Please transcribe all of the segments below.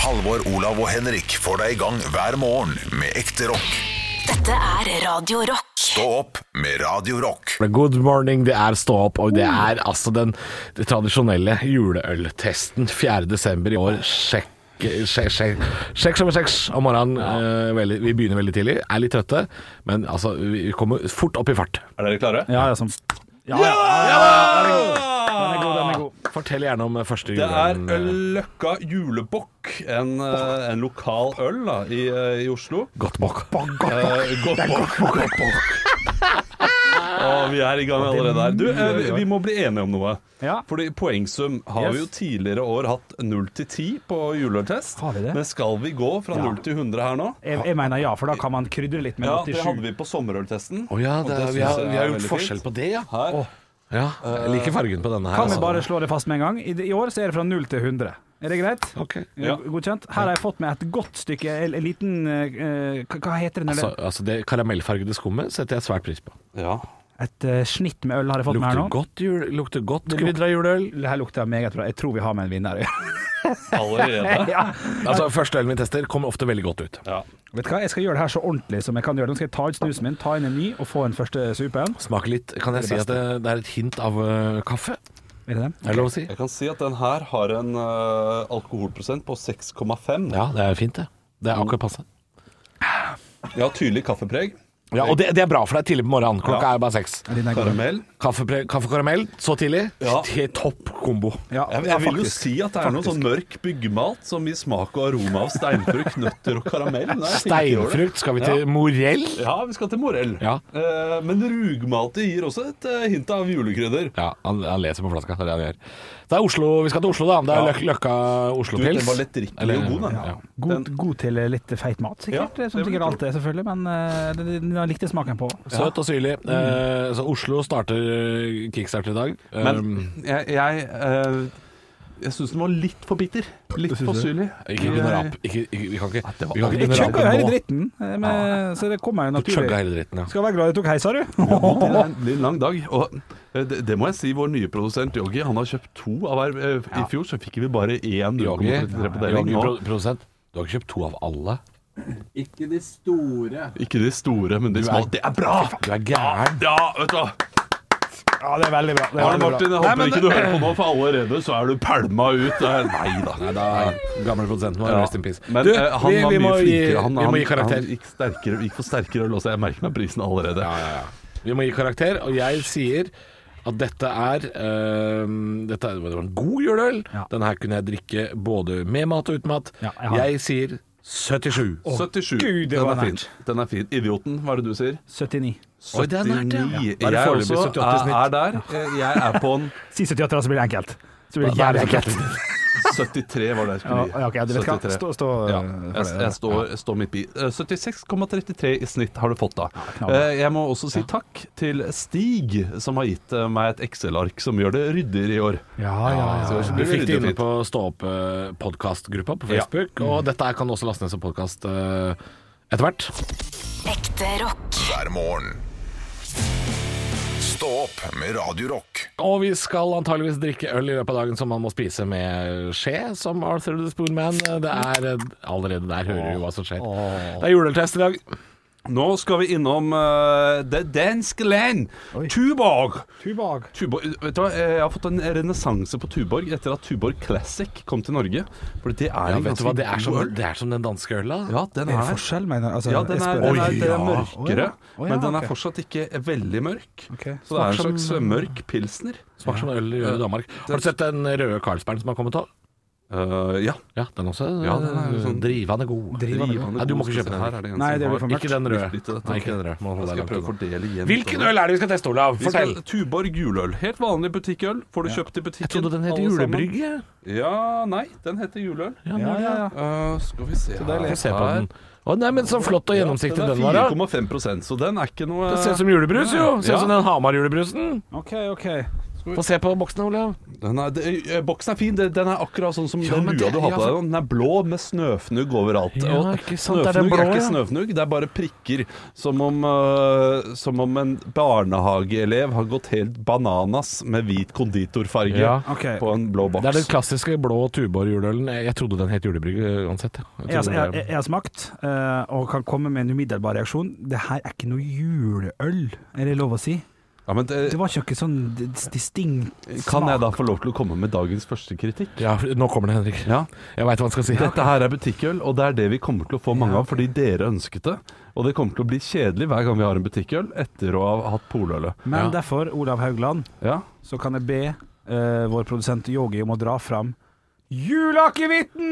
Halvor, Olav og Henrik får deg i gang hver morgen med ekte rock. Dette er Radio Rock. Stå opp med Radio Rock. Good morning, det er stå opp, og det Mm. er altså den tradisjonelle juleøltesten 4. desember i år. Sjekk. Sjekk, sjekk, sjekk som er seks om morgenen. Eh, veldig, vi begynner veldig tidlig. Er litt trøtte, men altså, vi kommer fort opp i fart. Er dere klare? Ja, ja, som Ja, ja! Den er god, den er god. Fortell gjerne om første eh, Det er juleøl. Løkka julebokk, en, eh, en lokal øl da, i, eh, i Oslo. Godt bok. Eh, Godt bokk. Godt bokk. Å, vi er i gang allerede der. Du, eh, vi- vi må bli enige om noe. Ja. Fordi poengsum har vi jo Yes. tidligere år hatt 0 til 10 på juleøltest. Har vi det? Men skal vi gå fra Ja. 0 til 100 her nå? Jeg, jeg mener ja, for da kan man krydre litt med Ja, det hadde 87. vi på sommerøltesten. Å ja, og det, det vi, har, synes jeg vi har er gjort veldig forskjell fint. på det, ja. Her. Eh, ja. Jeg liker fargen på denne her. altså. Kan vi bare slå det fast med en gang? I, I år så er det fra 0 til 100. Er det greit? Ok. Ja. Godkjent? Her har jeg fått med et godt stykke, en en liten eh, hva- Hva heter det? når Altså, det- altså det karamellfargede skummet setter jeg svært pris på. Ja. Et eh, snitt med øl har jeg fått med her Lukter nå. godt, jul, lukter godt krydra juleøl. Det her lukter meget bra. Jeg tror vi har med en vinner. Allerede. ja. Altså, Første ølen vi tester, kommer ofte veldig godt ut. Ja. Vet du hva, jeg skal gjøre det her så ordentlig som jeg kan gjøre det. Nå skal jeg ta ut snusen min, ta inn en ny og få en første supen. Smaker litt Kan jeg si at det, det er et hint av øh, kaffe? Er det den? Er det lov å si? Jeg kan si at den her har en eh, alkoholprosent på 6,5. Ja, det er fint, det. Det er akkurat passe. Ja, tydelig kaffepreg. Ja, Og det, det er bra for deg tidlig på morgenen. Klokka Ja. er bare seks. Den er god. Karamell. Kaffe, kaffe karamell så tidlig? Ja. Til Topp kombo. Ja, Jeg, ja, jeg vil jo faktisk. si at det er noe sånn mørk byggemalt som gir smak og aroma av steinfrukt, nøtter og karamell. Nei, jeg tenker ikke over det. Steinfrukt? Skal vi til morell? Ja, vi skal til morell. Ja. Eh, men rugmalte gir også et eh, hint av julekrydder. Ja, han, han leser på flaska. Det er det han gjør. Det er Oslo, Vi skal til Oslo, da. Det er Ja. Løk- Løkka Du, Oslo-pils. den var lett drikkelig og god, den. Ja. God, god til eh, litt feit mat, sikkert. eh, Ja, som det vil jeg sikkert alt er, selvfølgelig. Men eh, den- den- den likte jeg smaken på. Søt og syrlig. Eh, så Oslo starter eh, kickstarter i dag. Men Um, jeg, jeg, eh, jeg syns den var litt for bitter. Litt for syrlig. Eh, Eh, ikke begynn å rape. Ikke, ikke, vi kan ikke, vi kan ikke begynne Jeg å chugga jo hele rape nå. dritten, eh, med, så det kommer jo Du chugga naturlig. hele dritten, ja. Skal være glad jeg tok heis, sa du. Det er en- det blir en lang dag. Og eh, det, det må jeg si, vår nye produsent Yogi han har kjøpt to av hver. eh, I fjor så fikk vi bare én Yogi, 0,33 på deling. Yogi Nå- pro- produsent, du har ikke kjøpt to av alle. Ikke de store. Ikke de store, men de Du er- små. Det er bra! Du er gæren. Ja, vet du hva. Ja, det er veldig bra. Det er Arne veldig bra. Martin, jeg håper Nei, men ikke det- du hører på nå, for allerede så er du pælma ut. Det er- Nei da. Nei, da, gamle produsenten vår, Ja. rest in peace. Men Du, eh, han var mye flinkere. Han, vi må gi han- karakter. Han gikk, sterkere, gikk for sterkere øl også. Jeg merker meg prisen allerede. Ja, ja, ja. Vi må gi karakter, og jeg sier at dette er øhm, Dette er- det var en god juleøl. Ja. Den her kunne jeg drikke både med mat og uten mat. Ja, jeg har jeg sier 77. 77. Gud, det den, var er fin. nært. den er fin. Idioten, hva er det du sier? 79. Oi, det er nært, ja. 79. Da er det Jeg foreløpig også 78 i er, snitt. er der. Eh, Jeg er på en Si 78, da, så blir det enkelt. Så blir det Da er jævlig det enkelt. 73 var det jeg skulle Ja, gi. ja, ok, du vet hva. 73. Stå, stå Ja, eh, jeg, for jeg det. står, står midt i. Eh, 76,33 i snitt har du fått da. knallbra. Eh, Jeg må også si takk til Stig, som har gitt eh, meg et Excel-ark som gjør det ryddigere i år. Ja, ja, ja. Du fikk det inne på Stå opp-podkastgruppa på Facebook, og dette her kan også lastes ned som podkast etter hvert. Ekte rock. Hver morgen. Stå opp med Radio Rock. Og vi skal antageligvis drikke øl i løpet av dagen som man må spise med skje, som Arthur the Spoonman. Det er eh, Allerede der hører du hva som skjer. Det er juletest i dag. Nå skal vi innom eh, det danske land, Tuborg. Tubag. Tuborg. Vet du hva, eh, jeg har fått en renessanse på Tuborg etter at Tuborg Classic kom til Norge. For det er Ja, en vet du ganske hva, det er som, god øl. det er som den danske øla. Ja, den Er det er, forskjell, mener jeg? Altså, ja, den er, jeg spør- den er, Oi, den er ja. mørkere, Å, ja, men den ok. er fortsatt ikke veldig mørk. Så Ok. det er en Smaker slags eh, som- mørk pilsner. Smaker som øl i Danmark. Har du sett den røde Carlsbergen som har kommet òg? Eh, ja. Ja, den også. Ja, den er jo sånn- drivende god. Drivende god. Nei, du må ikke kjøpe den Her her. er det en Nei, som det blir har- for mørkt. Ikke den røde. Litt til dette. Nei, ikke den røde. Må Da holde deg skal jeg prøve å langt unna. fordele igjen. Hvilken øl er det vi skal teste, Olav? Vi skal Fortell. Tuborg guløl. Helt vanlig butikkøl. Får du kjøpt i butikken. Jeg trodde den het alle sammen. julebrygge. Ja, nei, den heter juløl. Ja, ja, ja. Eh, skal vi se Få her. se på den. Å nei, men så flott og gjennomsiktig den var, da. var, 4,5 så den er ikke noe Det ser ut som julebrus, jo. Ser ut Ja. som den Hamar-julebrusen. OK, OK. Få se på boksen, Olav. Den er, det, eh, boksen er fin. det- Den er akkurat sånn som den men lua det- du har ja, på deg. Den er blå med snøfnugg overalt. Ja, Og ikke sant, det er den Snøfnugg er blå, ikke ja. snøfnugg, det er bare prikker. Som om, eh, som om en barnehageelev har gått helt bananas med hvit konditorfarge Ja. Ok. på en blå boks. Det er den klassiske blå Tuborg-juleølen. Jeg trodde den het julebrygg øh, uansett. jeg. Jeg Jeg, trodde jeg, det- jeg, jeg har smakt, eh, og kan komme med en umiddelbar reaksjon. Det her er ikke noe juleøl, er det lov å si? ja, men, eh, Det var ikke sånn d- distinkt kan jeg smak. da få lov til å komme med dagens første kritikk? Ja, nå kommer det, Henrik. Ja. Jeg veit hva han skal si. Dette her er butikkøl, og det er det vi kommer til å få mange av fordi dere ønsket det. Og det kommer til å bli kjedelig hver gang vi har en butikkøl etter å ha hatt polølet. Men Ja. derfor, Olav Haugland, Ja. så kan jeg be eh, vår produsent Yogi om å dra fram juleakevitten!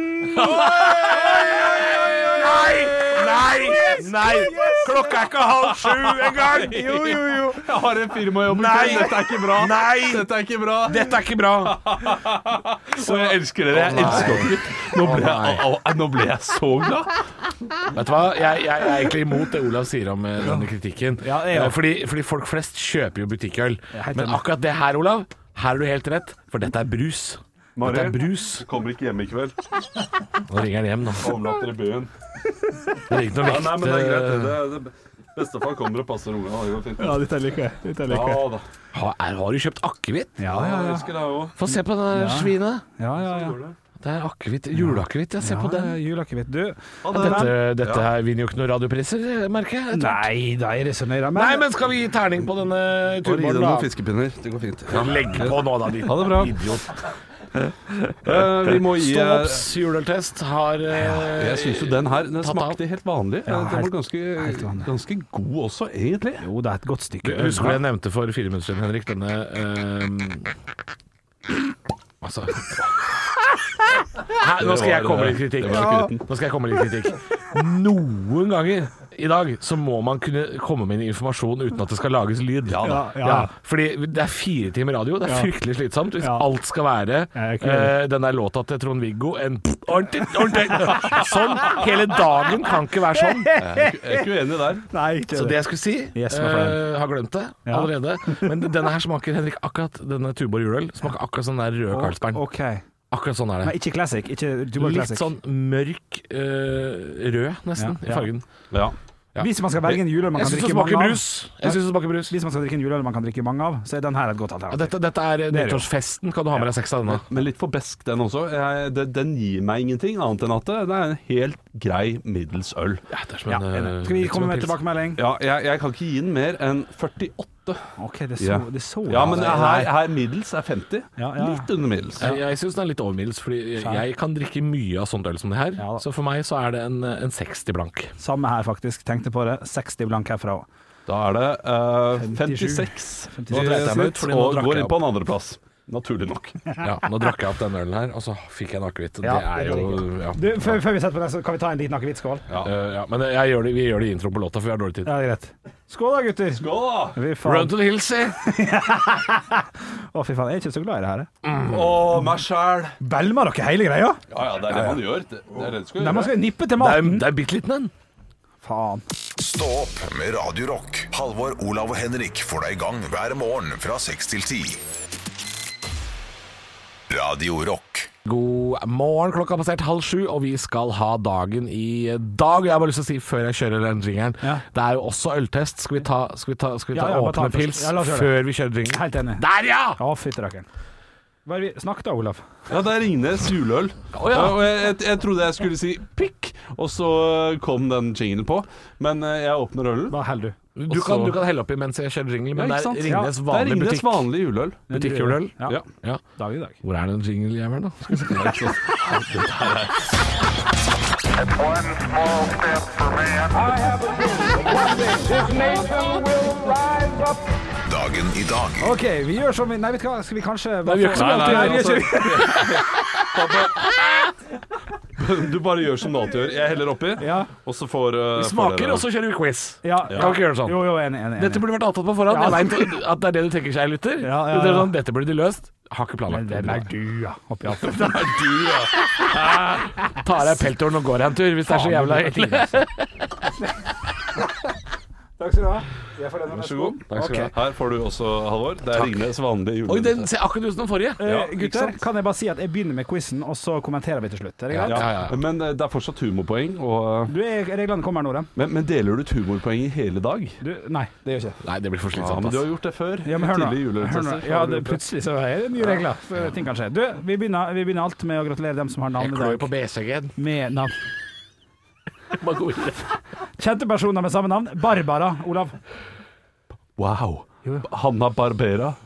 Nei! Nei! Nei! Klokka er ikke halv sju engang! Jo, jo, jo. Jeg har en firmajobb i Nei! kveld, dette er ikke bra. Nei! Dette er ikke bra. Dette er ikke bra. Og jeg elsker dere. Jeg elsker dere. Nå ble jeg, nei. au, au, nå ble jeg så glad. Vet du hva, jeg, jeg er egentlig imot det Olav sier om eh, denne kritikken. Ja, jeg Eh, òg. fordi, fordi folk flest kjøper jo butikkøl. er helt Men enig. akkurat det her, Olav, her er du helt rett, for dette er brus. Dette er brus. kommer ikke hjem i kveld. Nå ringer han hjem, da. Overnatter i byen. Det er ikke noe vekt. eh, Bestefar kommer og passer ungene. Det går fint. Ja, dette liker jeg. Dette liker jeg. Ja da. har, Eh, er, har du kjøpt akevitt? Ja, ja, ja. elsker deg òg. Få se på det der svinet. ja, ja, ja. Det er akevitt. Juleakevitt. Ja, se på den. Ja, juleakevitt. Du, Dette, dette her vinner jo ikke noen radiopriser, eh, merker jeg. Nei, da er det så nøye. Nei, men skal vi gi terning på denne Og ri deg turen, noen da? fiskepinner. Det går fint. Legg på nå, da, din Ha det bra. idiot. Eh, vi må gi eh, Ståops juleøltest har eh, Jeg syns jo den her den Tatt smakte helt vanlig. Ja, den var helt- ganske, helt vanlig. ganske god også, egentlig. Jo, det er et godt stykke. øl, Husker du da. jeg nevnte for fire minutter siden, Henrik, denne ehm, Altså Hæ, nå skal jeg komme med litt kritikk. Det var kruten. Nå skal jeg komme med litt kritikk. Noen ganger i dag så må man kunne komme med informasjon uten at det skal lages lyd. Ja, da. Ja. fordi det er fire timer radio, det Ja. er fryktelig slitsomt hvis Ja. alt skal være Jeg er ikke eh, den der låta til Trond-Viggo en ordentlig, ordentlig Sånn! Hele dagen kan ikke være sånn. Jeg er ikke uenig der. Nei, ikke Så det det. jeg skulle si, Yes, my friend. eh, har glemt det Ja. allerede. Men denne her smaker Henrik akkurat denne Tuborg juleøl. Smaker akkurat sånn der rød Carlsberg. OK. Akkurat sånn er Men det. ikke classic. Ikke Dubai Litt Classic. sånn mørk eh, rød, nesten, Ja, i ja. fargen. Ja. Ja. Hvis man skal velge en juleøl man Jeg kan syns det drikke mange smaker av brus. Jeg synes det smaker brus. Hvis man skal drikke en juleøl man kan drikke mange av, så er den her et godt Ja, alternativ. Dette, dette er eh, det jo. nyttårsfesten. Kan du ha med deg seks av denne? Men litt for besk, den også. Jeg, det, den gir meg ingenting annet enn at det det er en helt grei middels øl. Ja, det er som Ja, en, eh, enig. Skal vi litt som komme en med pils. tilbakemelding? Ja, jeg, jeg kan ikke gi den mer enn 48. OK, det er Ja. så, det er så Ja, men det er- her, her middels er 50. Ja, ja. Litt under middels. Jeg, jeg syns den er litt overmiddels, fordi jeg- jeg kan drikke mye av sånt øl som det her. Ja, da. Så for meg så er det en, en 60 blank. Samme her, faktisk. Tenkte på det. 60 blank herfra òg. Da er det eh, 57. 56. Nå dreit jeg meg ut, fordi nå og drakk går jeg inn på en andreplass. Naturlig nok. Ja, nå drakk jeg opp den ølen her, og så fikk jeg en akevitt. Det Ja, er det jo ja. Du, før, før vi setter på den, så kan vi ta en liten akevittskål? Ja. Eh, ja, men jeg gjør det, vi gjør det i introen på låta, for vi har dårlig tid. Ja, det er greit. Skål da, gutter. Skål, da! Fy Run faen. to the hills, eh. si! Å, fy faen. Jeg er ikke så glad i det her. jeg. Å, meg sjæl! Belmer dere hele Ja greia? ja, det er det man gjør. Det, det er det du skal Nei, gjøre. man skal jo nippe til Det er, maten. det er bitte liten en. Faen. Stå opp med Radio Rock. Halvor, Olav og Henrik får deg i gang hver morgen fra 6 til 10. Radio Rock. God morgen, klokka har passert halv sju, og vi skal ha dagen i dag. Jeg har bare lyst til å si før jeg kjører den jingeren, Ja. det er jo også øltest. Skal vi ta, skal vi ta, skal vi ta Ja, ja, bare ta åpne den først. pils Ja, la oss gjøre det. før vi kjører jingeren? Helt enig. Der, ja! Å, fytti rakkeren. Hva er det vi- Snakk da, Olaf. Ja, det er Ringnes juleøl. Å, ja. Ja, og jeg, jeg, jeg trodde jeg skulle si pikk, og så kom den jinglen på. Men eh, jeg åpner ølen. Da holder du. Du Og kan, så- du kan helle oppi mens jeg kjører jingelen, Ja, men ikke sant? det er Ringnes Det er Ja, vanlig Ringnes butikk. vanlig juleøl. Butikkjuleøl. Ja. Ja. Ja. Dag i dag. Hvor er den jingle-jævelen, da? Skal vi se. One small step for man. I have a dream that one day this nation will rise up. Dagen i dag. OK, vi gjør som vi Nei, vet du hva, skal vi kanskje Nei, vi gjør ikke som vi alltid Nei, altså. gjør, vi gjør ikke- Du bare gjør som du alltid gjør. Jeg heller oppi, Ja. og så får eh, Vi får smaker, dere- og så kjører vi quiz. Ja. Kan vi ikke gjøre det sånn? Jo, jo, enig, enig. Dette enig. burde vært avtalt på forhånd. Jeg Ja. vet at det er det du tenker seg, lytter. Ja, ja, Det er ja. Sånn, dette burde de løst. Har ikke planlagt Men det. hvem er du, ja? Oppi alt dette. Det er du, ja. Tar av peltoren og går en tur, hvis det er altså. så jævla Faen, hyggelig. det er ting, altså. Takk skal du ha. Jeg får den Vær så god. Takk skal du Ok. Her får du også, Halvor. Det er Ringnes vanlige Oi, den julenisse. ser akkurat ut som den forrige. Ja, ikke Eh, gutter, sant? kan jeg bare si at jeg begynner med quizen, og så kommenterer vi til slutt? Er det Ja. greit? Men eh, det er fortsatt humorpoeng. Og, eh, Du, er- reglene kommer nå, da. men, men deler du ut humorpoeng i hele dag? Du, nei, det gjør jeg ikke. Nei, det blir for Ja, slitsomt. men du har ass. gjort det før. Ja, men hør Tidlig nå. i Hør nå. juleutestelser. Ja, det, plutselig så er det nye regler. Så Ting kan skje. Du, vi begynner, vi begynner alltid med å gratulere dem som har Jeg navn i klør på dag. BCG-en. Med navn. Bare gå videre. Kjente personer med samme navn. Barbara, Olav. Wow. Hanna Barbera. Å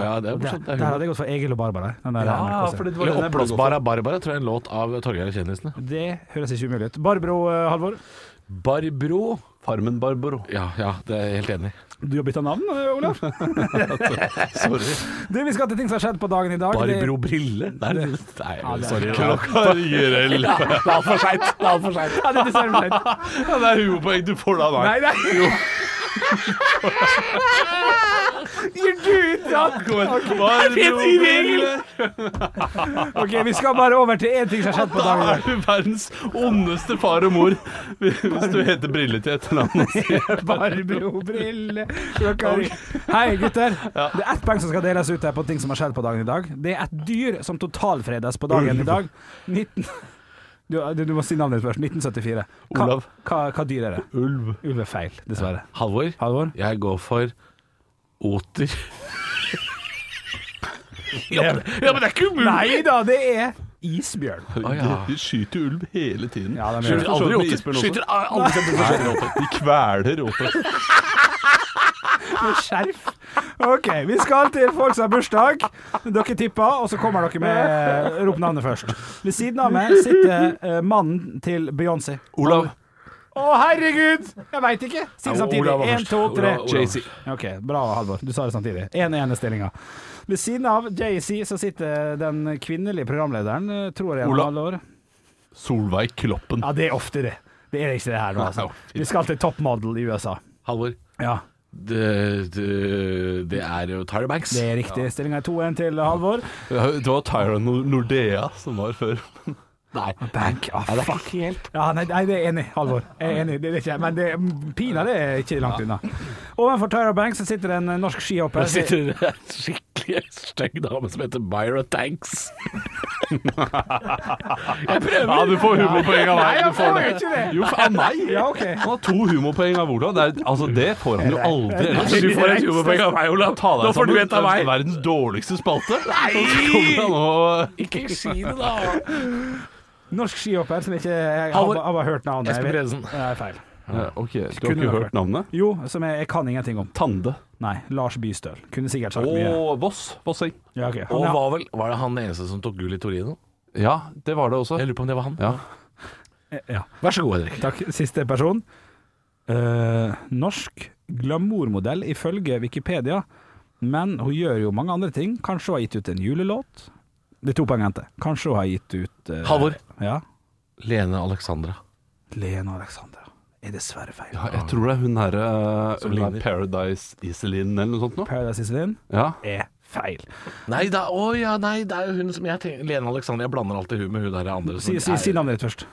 ja, det er morsomt. Der, der hadde jeg gått for Egil og Barbara. Den der Ja, NRK-serien. for det var Eller den jeg burde gå for. Oppblåsbara Barbara, tror jeg er en låt av Torgeir og kjendisene. Det høres ikke umulig ut. Barbro eh, Halvor, Barbro Farmen Barbaro. Ja, ja, det er jeg helt enig i. du har bytta navn, eh, Olav. Sorry. Du, vi skal til ting som har skjedd på dagen i dag. Barbro Brille? Nei, nei, sorry. Det Klokka gir elv. er altfor seint. Det er altfor seint. Det, ja, det er dessverre sant. Ja, det er humorpoeng du får da, nei. Nei, nei. Ok, vi skal bare over til én ting som har skjedd på Da dagen i dag. er du verdens ondeste far og mor hvis du heter Brille til etternavn. Barbro-brille. Hei, gutter. Det er ett poeng som skal deles ut her på ting som har skjedd på dagen i dag. Det er et dyr som totalfredes på dagen i dag. 19... Du, du, du må si navnet ditt først. 1974. Hva, Olav. Hva, hva dyr er det? Ulv. Ulv er feil, dessverre. Halvor, Halvor? jeg går for oter. ja, men, ja, men det er ikke umulig! Nei da, det er isbjørn. Å, ja. De skyter jo ulv hele tiden. Ja, de gjør Skyter det. Aldri aldri med oter. isbjørn også. Skyter aldri kjempeforskjellig oter. De kveler oter. Med skjerf. OK, vi skal til folk som har bursdag. Dere tipper, og så kommer dere med Rop navnet først. Ved siden av meg sitter eh, mannen til Beyoncé. Olav. Å, herregud! Jeg veit ikke. Si Ja, det samtidig. Olav var Én, først. to, tre. Olav, Olav. Jay-Z. OK, bra, Halvor. Du sa det samtidig. 1-1-stillinga. Ved siden av Jay-Z så sitter den kvinnelige programlederen, eh, tror jeg. Olav. Halvor. Solveig Kloppen. Ja, det er ofte det. Det er ikke det her nå, altså. Vi skal til toppmodell i USA. Halvor, Ja, det, det, det er jo Tyra Banks. det er riktig. Stillinga er 2-1 til Halvor. Det var Tyron Nordea som var før. Nei. Bank. Ah, Nei, det er fuck helt Ja, nei, nei, det er enig, Halvor. Jeg er enig, det er ikke, Men det, pinadø er ikke langt unna. Ovenfor Tyra Banks så sitter det en eh, norsk skihopper. Der sitter det en skikkelig stygg dame som heter Myra Tanks. Jeg prøver. Ja, du får humorpoeng av meg. Nei, jeg Du får får det. ikke det. Jo, av meg. Ja, ok. Han har to humorpoeng av Olav. Det, er, altså, det får han jo aldri. ellers. Du får et humorpoeng av meg, Olav. Ta deg Nå får du sammen. et av meg. Verdens dårligste spalte. Nei! Så kommer han og Ikke si det, da. Norsk skihopper som ikke Jeg har, Halvor. bare- har bare hørt navnet. Espen Jeg vet- Bredesen. Det er feil. Ja, OK, du har Kunne ikke vært hørt navnet? Jo, som jeg, jeg kan ingenting om. Tande. Nei, Lars Bystøl. Kunne sikkert sagt mye. Og Voss. Vosseng. Ja, ok. Og Han, ja. var, vel, var det han eneste som tok gull i Torino? Ja, det var det også. Jeg lurer på om det var han. Ja. ja. Vær så god, Henrik. Takk. Siste person. Eh, norsk glamourmodell ifølge Wikipedia, men hun gjør jo mange andre ting. Kanskje hun har gitt ut en julelåt? Det er to poeng å hente. Kanskje hun har gitt ut eh, Halvor. Ja. Lene Alexandra. Lena Alexandra. Er dessverre feil. Ja, jeg tror det er hun herre Som ligner. Paradise Iselin eller noe sånt noe. Paradise Iselin Ja. er feil. Nei, da, å, ja, nei, det er jo hun som jeg tenker Lene Alexandra. Jeg blander alltid hun med hun der andre. som Si, si, Sånn er- si navnet ditt først.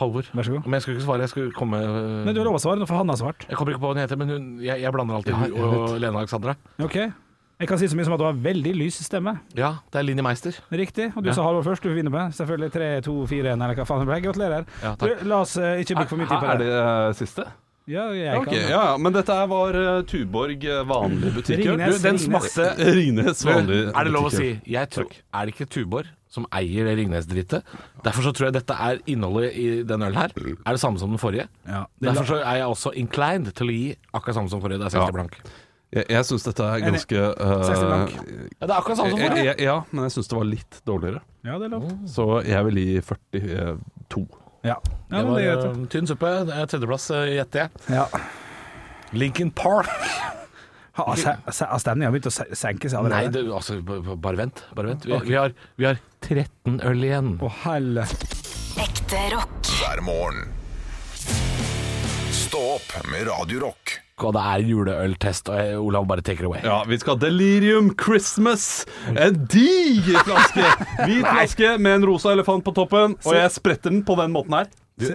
Halvor. Vær så god. Men jeg skulle ikke svare. Jeg skulle komme øh, Men du har lov å svare, nå får Hanna svart. Jeg kommer ikke på hva hun heter, men hun, jeg, jeg blander alltid Ja, jeg hun og Lene Alexandra. Ok. Jeg kan si så mye som at du har veldig lys stemme. Ja, det er Linni Meister. Riktig. Og du Ja. sa Halvor først, du vinner på. Selvfølgelig 3, 2, 4, 1, eller hva faen det ble. Gratulerer. Ja, Du, takk. la oss eh, ikke bruke for mye tid på Er det. det eh, siste? Ja, jeg Ok, kan. ja, ja, men dette her var eh, Tuborg eh, vanlig butikkøl. Ringnes, Du, den Ringnes. smakte Ringnes Du, vanlig er det lov å si butikkøl. jeg tror, Er det ikke Tuborg som eier det Ringnes-drittet? Derfor så tror jeg dette er innholdet i den ølen her. Er det samme som den forrige? Ja. Det er Derfor så er jeg også inclined til å gi akkurat samme som forrige. Det er 60 Ja. blank. Jeg, jeg syns dette er Enig. ganske eh, 60 blank. Ja, det er akkurat samme som jeg, forrige. jeg, Ja, men jeg syns det var litt dårligere. Ja, det er lov. Så jeg vil gi 42. Ja, ja Det men var det er eh, greit. tynn suppe. Det er Tredjeplass, eh, gjetter jeg. Ja. Lincoln Park. Har se- se- har stemningen begynt å se- senke seg Nei, allerede? det, altså, b- b- bare vent. Bare vent. Vi, vi, har, vi har 13 øl igjen. Å, helle. Ekte rock. hver morgen. Stå opp med Radio Rock. Og det er juleøltest, og eh, Olav bare take it away. Ja, vi skal ha Delirium Christmas. En diger flaske. Hvit flaske med en rosa elefant på toppen. Og jeg spretter den på den måten her. Du,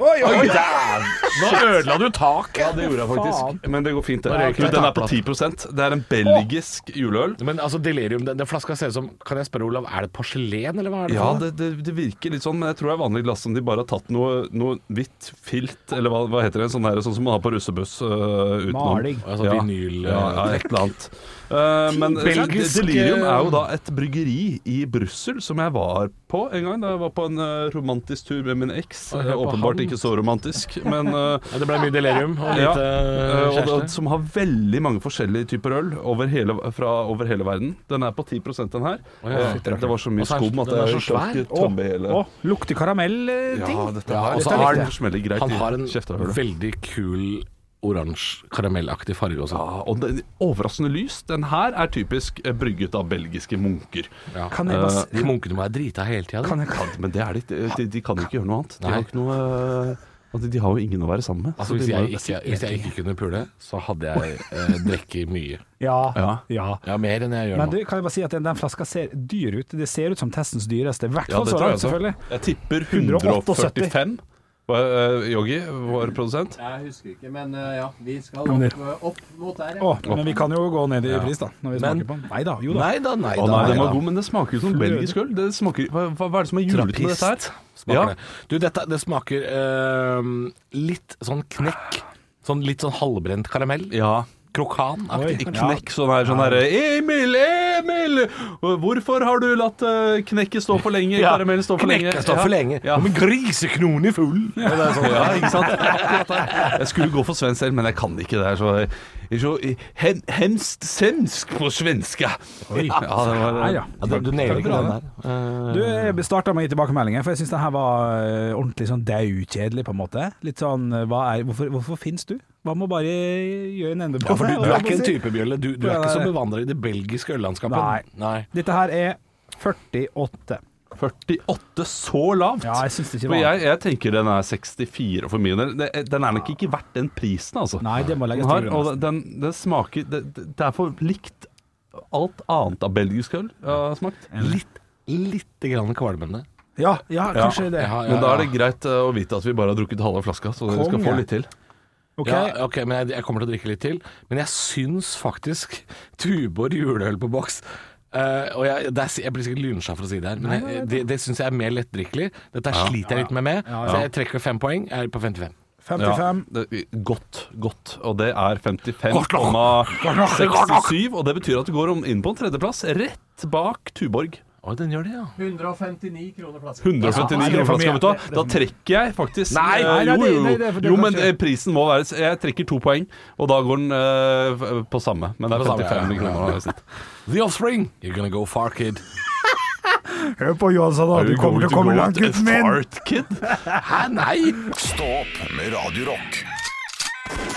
Nå ødela du taket! Ja, det gjorde jeg faktisk. Men det går fint. Da Det. røyker Du, vi den er på takplaten. 10 Det er en belgisk juleøl. Men altså, delirium, den, den flaska ser ut som Kan jeg spørre, Olav, er det porselen, eller hva er det? Ja, for noe? det, det, det virker litt sånn, men jeg tror det er vanlig glass som de bare har tatt noe, noe hvitt filt, eller hva, hva heter det, sånn, der, sånn som man har på russebuss øh, utenom. Maling. Altså, vinyl, ja, ja, et eller annet. Eh, men Belgisk, Delirium eh, er jo da et bryggeri i Brussel som jeg var på en gang. Da jeg var på en eh, romantisk tur med min eks. Å, ja, på Åpenbart havn. ikke så romantisk, men eh, Ja, det ble mye delirium og lite ja, eh, eh, og det, kjæreste. som har veldig mange forskjellige typer øl over hele, fra over hele verden. Den er på 10 den her. ja. Eh, det var så mye Og så er- skum at den er jeg så svær. ikke Å, tømmer hele å, lukter karamell-ting. Ja, dette Ja, er dette altså, er har riktig. den smeller greit Han i har en kjeftehullet. veldig kul oransje karamellaktig farge også. Ja, og den overraskende lys. Den her er typisk eh, brygget av belgiske munker. Ja. Kan jeg bare De munkene må være drita hele tida. kan jeg, Kan- Men det er de, ikke. de, de kan jo ikke gjøre noe annet. De Nei. har, ikke noe, eh, altså, de har jo ingen å være sammen med. Altså, så hvis, de må jeg jo- ikke, hvis jeg ikke kunne pule, så hadde jeg eh, drukket mye. ja, Ja. ja. Ja, mer enn jeg gjør Men du, nå. kan jeg bare si at den, den flaska ser dyr ut. Det ser ut som testens dyreste. I hvert Ja, fall det Sånn så tror jeg langt, også. selvfølgelig. Jeg tipper 178. 145. Hva, eh, Yogi, vår produsent. Jeg husker ikke, men eh, ja, vi skal Kom opp, ned. eh, opp mot der, Å, ja. men vi kan jo gå ned i pris, da. Når vi Men- smaker på den. Nei da, jo da. Nei da, nei Å nei, den var da. god, men det smaker jo som belgisk øl. Det smaker, hva, hva hva er det som er julete med dette her? Trappist smaker Ja. det. Du, dette det smaker eh, litt sånn knekk. Sånn litt sånn halvbrent karamell. Ja, Krokanaktig. Oi. Knekk sånn her, sånn her Emil, Emil! Hvorfor har du latt eh, knekket stå for lenge? Ja. Karamellen stå for lenge? Knekket står for lenge. Ja. Om en griseknon i full. Ja, det er sånn, ja, ikke sant? Akkurat der. Jeg skulle gå for svensk selv, men jeg kan ikke det. her, Så, jeg er så hem, hemst semsk på svenska. Oi. Ja, det var, Nei, ja. Ja, du, du nailer ikke den der. Du Eh. jeg starta med å gi tilbakemeldinger, for jeg syns den her var eh, ordentlig sånn daukjedelig, på en måte. Litt sånn eh, hva er, hvorfor, hvorfor finnes du? Hva må bare gjøre en ende på Ja, for du, det, du hva er må ikke en si? type, Bjølle. Du, du er ikke så bevandra i det belgiske øllandskapet. Nei. Nei. Dette her er 48. 48, så lavt. Ja, jeg syns det ikke For var jeg, jeg tenker den er 64 for mye. Den, eh, den er nok ikke verdt den prisen, altså. Nei, det må legges Den, til har, grunn. altså. og den, den smaker det, det er for likt alt annet av belgisk øl jeg har smakt. Litt, litt grann kvalmende. Ja, ja, kanskje det. Ja, ja, Men da er ja. det greit eh, å vite at vi bare har drukket halve flaska, så dere skal Konge. få litt til. Ok. Ja, ok, men jeg, jeg kommer til å drikke litt til. Men jeg syns faktisk Tuborg juleøl på boks eh, og jeg, det er, si- jeg blir sikkert lynsja for å si det her, men jeg, det, det syns jeg er mer lettdrikkelig. Dette sliter jeg litt med, med så jeg trekker fem poeng. Jeg er på 55. 55. Ja, det, godt, godt. Og det er Godt nok. 55,67, og det betyr at du går om, inn på en tredjeplass, rett bak Tuborg. Oi, den gjør det, ja. 159 kroner flasken. 159 det er kroner for flaska, mye. vet du hva. Da trekker jeg faktisk Nei, eh, nei, nei, jo, det- jo, nei, det er for- jo. det jo, kan men ikke- eh, prisen må være Jeg trekker to poeng, og da går den eh, på samme. Men det På er samme, 55 ja, ja. kroner. i snitt. The Offspring, you're gonna go far, kid. Hør på Johansson, da. Du kommer til å komme langt, gutten min. Fart, kid. Hæ, nei! Stå opp med Radio Rock.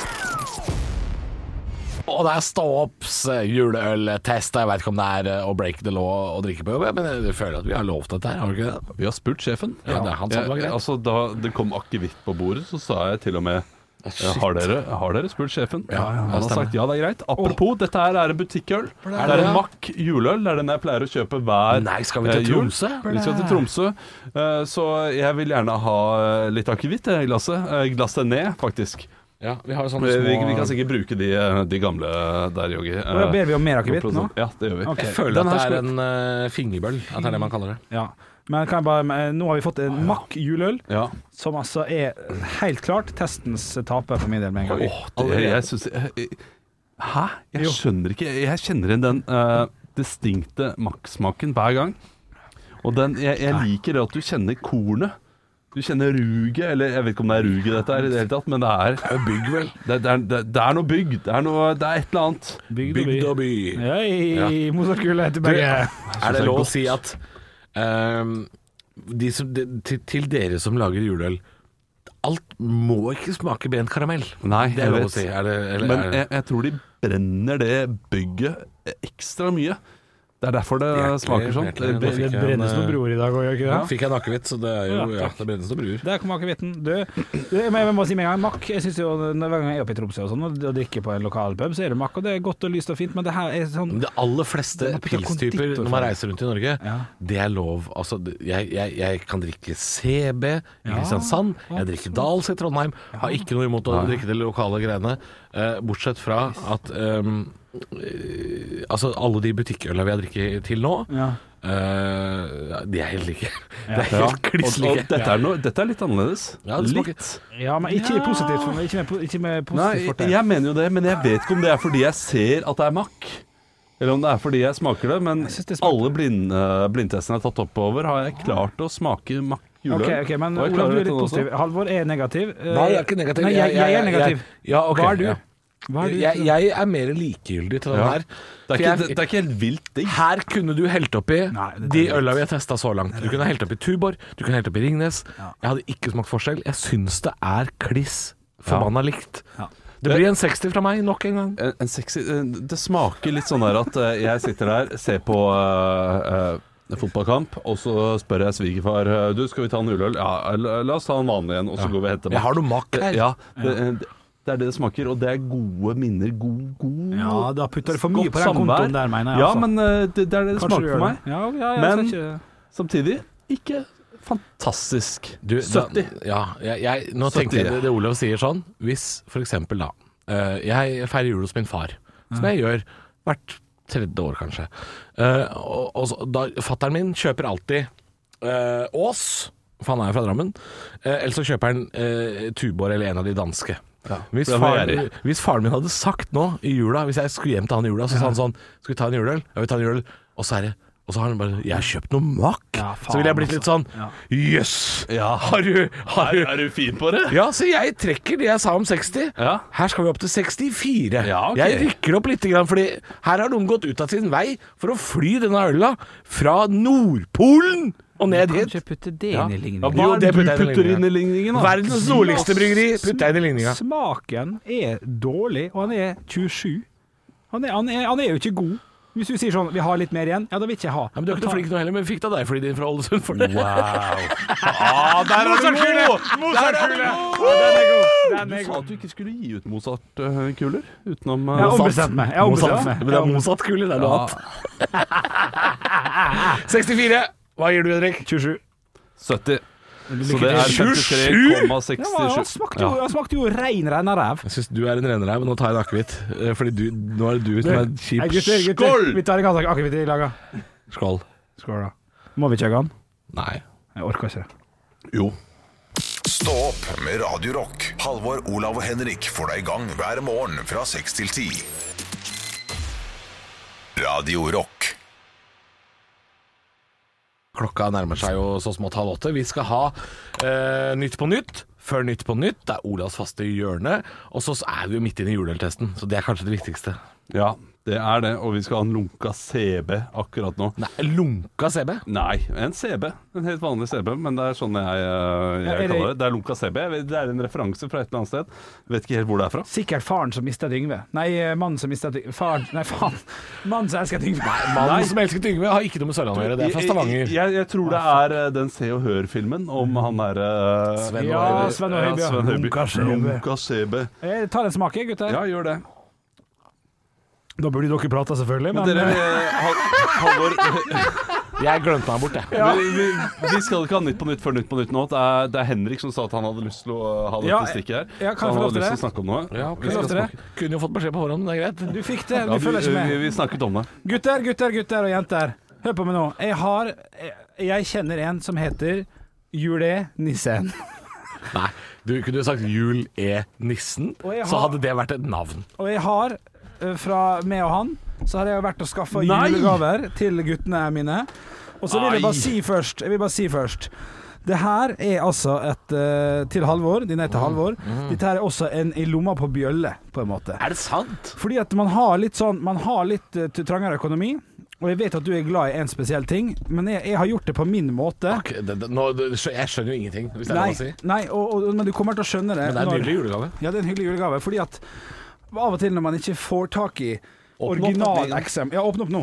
Og det er stå-opps eh, juleøltest. Jeg veit ikke om det er eh, å break the law å drikke på jobb, men jeg føler at vi har lovt dette her, har vi ikke det? Vi har spurt sjefen. Ja, det er han som var greit. Jeg- altså, da det kom akevitt på bordet, så sa jeg til og med shit. har dere, har dere spurt sjefen? Ja, ja, Han har det stemmer. sagt ja, det er greit. Apropos, dette her er en butikkøl. Det det er en det? Mack juleøl. Det er den jeg pleier å kjøpe hver Nei, skal vi til eh, jul. Tromsø? Vi skal til Tromsø. Eh, Så jeg vil gjerne ha eh, litt akevitt i glasset. Eh, Glasset ned, faktisk. Ja, vi har jo sånne Vi, små vi, vi kan sikkert bruke de, eh, de gamle der, Yogi. Og da ber vi om mer akevitt nå. Ja, det gjør vi. Ok. Jeg føler Den at her det er skulle- en eh, fingerbøll, at det er det man kaller det. Ja. Men kan jeg bare, men nå har vi fått en Mack juleøl, Ja. som altså er helt klart testens taper for min del med en gang. Åh, det, jeg synes, jeg, jeg- hæ? Jeg skjønner ikke. Jeg kjenner igjen den eh, distinkte makksmaken hver gang. Og den, jeg, jeg liker det at du kjenner kornet. Du kjenner ruget, eller jeg vet ikke om det er ruget dette er i det hele tatt, men det er Bygg, vel? Det, det, er, det, det er noe bygg. Det er, noe, det er et eller annet. Bygd og by. Hei, Mozart-kule til begge. Er det lov å si at ehm, de som, de, til, til dere som lager juleøl Alt må ikke smake brent karamell. Nei, Det jeg er lov å vet. si. Er det, eller, Men er det? jeg, jeg tror de brenner det bygget ekstra mye. Det er derfor det Hjertelig, smaker sånn. hjertelig. Det, Det Fikk jeg en, brennes noen eh, broer i dag òg, gjør ikke Nå det? fikk jeg en akevitt, så det er jo Ja, ja, takk. det brennes noen bruer. Der kom akevitten. Du, det må jeg bare si med en gang. Makk jeg synes jo, når- Hver gang jeg er oppe i Tromsø og sånn og og drikker på en lokal pub, så er det makk, og det er godt og lyst og fint, men det her er sånn Men de aller fleste Den er på pilstyper konditor- når man reiser rundt i Norge, Ja. det er lov. Altså, det- jeg, jeg, jeg kan drikke CB i Kristiansand, jeg drikker Dals i Trondheim. Har ikke noe imot å drikke de lokale greiene. eh, bortsett fra at ehm, eh, Altså, alle de butikkølene vi har drukket til nå, Ja. eh, de er helt like. De er ja. helt kliss Og, og like. dette, er noe, dette er litt annerledes. Ja, det smaker- litt. Ja, men ikke positivt for meg. Ikke med, po- ikke med positivt Nei, fortegn. jeg mener jo det, men jeg vet ikke om det er fordi jeg ser at det er makk. Eller om det er fordi jeg smaker det, men synes det smaker- alle blind, eh, blindtestene jeg har tatt oppover, har jeg klart å smake makk juleøl. Ok, ok, men Og jeg Olav, klarer du er dette litt også. positiv. Halvor er negativ. Eh, Nei, jeg er ikke negativ. Nei, jeg, jeg er negativ. ja, ok, Hva er du? ja. Hva er du? Jeg, jeg er mer likegyldig til den Ja. her. Det For er, jeg- ikke, det, det er ikke helt vilt digg. Her kunne du helt oppi Nei, det er de litt- øla vi har testa så langt. Du kunne helt oppi Tuborg, du kunne helt oppi Ringnes. Jeg hadde ikke smakt forskjell. Jeg syns det er kliss forbanna likt. Det blir en 60 fra meg nok en gang. En, en sexy, eh, det smaker litt sånn der at eh, jeg sitter der, ser på eh, eh, fotballkamp, og så spør jeg svigerfar eh, Du, skal vi ta en juleøl? Ja, la, la oss ta en vanlig en, og så går vi og henter Jeg har noe makk her. Ja, det, eh, det- det er det det smaker, og det er gode minner. God, god Ja, da putter du for mye godt på den samvær. kontoen der, mener jeg. Ja, altså. men eh, det, det er det det Kanskje du smaker gjør for meg. det. Ja, ja, jeg Men- skal ikke Samtidig ikke fantastisk. Du, da- 70. ja, jeg, jeg, nå 70, tenker jeg ja. det, det Olav sier sånn. Hvis for eksempel da eh, Jeg feirer jul hos min far, som jeg gjør hvert tredje år kanskje. Eh, og, og så, da, fatteren min kjøper alltid eh, Ås, for han er jo fra Drammen. Eh, eller så kjøper han eh, Tuborg eller en av de danske. Hvis, det må jeg faren, hvis faren min hadde sagt nå i jula, hvis jeg skulle hjem til han i jula, så sa han sånn Skal vi ta en juleøl? Ja, vi tar en juleøl. Og så er det og så har han bare Jeg har kjøpt noe makk! Ja, så ville jeg blitt faen, altså. litt sånn Jøss! Har du, har du du fin på det? ja, så jeg trekker det jeg sa om 60. Ja. Her skal vi opp til 64. Ja, ok. Jeg rykker opp litt, grann, fordi her har noen gått ut av sin vei for å fly denne øla fra Nordpolen og ned Kan hit. ikke putte det Ja. inn i ligningen. Jo, Ja, hva er det det du putter jeg inn i putter inn i ligningen. ligningen, da? Verdens nordligste bryggeri putter jeg inn i ligninga. Smaken er dårlig, og han er 27. Han er, han, er, han er jo ikke god. Hvis du sier sånn 'vi har litt mer igjen', ja, da vil ikke jeg ha. Ja, men Du er ikke noe flink nå heller, men vi fikk da deg flydd inn fra Ålesund for det. Der er du god! Den er god. Den Du er sa god. at du ikke skulle gi ut Mozart-kuler utenom Jeg har eh, ombestemt meg. Jeg har ombestemt meg. Men det er motsatt kule, det er noe annet. 64. Hva gir du, Henrik? 27. 70. Så til. det er 27? Ja, han, smakte jo, han smakte jo rein renneræv. Jeg syns du er en rennerev, men nå tar jeg en akevitt. eh, Fordi du, nå er det du som er Hei, kjip. gutter, gutter. Skål! Vi tar en gang akevitt i laga. Skål. Skål, da. Må vi kjøpe den? Nei. Jeg orker ikke det. Jo. Stå opp med Radio Rock. Halvor, Olav og Henrik får deg i gang hver morgen fra 6 til 10. Radio Rock. Klokka nærmer seg jo så smått halv åtte. Vi skal ha eh, Nytt på nytt. Før Nytt på nytt. Det er Olavs faste hjørne. Og så er vi jo midt inne i juleøltesten, så det er kanskje det viktigste. Ja, det er det. Og vi skal ha en lunka CB akkurat nå. Nei, lunka CB. Nei, en CB. En helt vanlig CB, men det er sånn jeg, eh, Ja, er jeg det- kaller det. Det er lunka CB. Jeg vet- Det er en referanse fra et eller annet sted. Vet ikke helt hvor det er fra. Sikkert faren som mista Yngve. Nei, eh, mannen som mista Yngve. Faren Nei, faen. Mannen som elsket Yngve. Mannen som elsket Yngve har ikke noe med Sørlandet å gjøre. Det er fra Jeg, Stavanger. Mm. jeg, jeg tror det er eh, den Se og Hør-filmen om han derre Sven Ja, og Øyvind. Sven og Høibjørn. Sven Høiby. Lunka CB. Lunka CB. Jeg tar eh, en smak, jeg, gutter. Ja, gjør det. Da burde dere prate, selvfølgelig. Men dere, eh, Hal- Halvor eh, Jeg glemte meg bort, jeg. vi, vi, vi skal ikke ha Nytt på Nytt før Nytt på Nytt nå. Det er, det er Henrik som sa at han hadde lyst til å eh, ha dette Ja, stikket her. ja, så kan jeg få han lov hadde til lyst det? til å snakke om noe. Ja, Vi skal lov til det? snakke- Kunne jo fått beskjed på forhånd, men det er greit. Du fikk det. Du Ja, følger ikke vi, eh, vi, med. vi snakket om det. Gutter, gutter, gutter og jenter. Hør på meg nå. Jeg har jeg- Jeg kjenner en som heter Jule-nissen. Nei, du kunne jo sagt Jul E. Nissen, Og jeg så har- hadde det vært et navn. Og jeg har, eh, fra meg og han, så har jeg vært og skaffa Nei! julegaver til guttene mine. Og så vil jeg bare Ai. si først Jeg vil bare si først det her er altså et eh, til Halvor. Din er til Halvor. Dette her er også en i lomma på bjølle, på en måte. Er det sant? Fordi at man har litt sånn Man har litt eh, trangere økonomi. Og jeg vet at du er glad i en spesiell ting, men jeg, jeg har gjort det på min måte. Ok, det, det, nå, det, skjø- jeg skjønner jo ingenting, hvis det er Nei, lov å si. nei og, og, men du kommer til å skjønne det. Men det er en når- nydelig julegave. Ja, det er en hyggelig julegave. Fordi at av og til når man ikke får tak i Original eksem... Ja, åpne opp nå.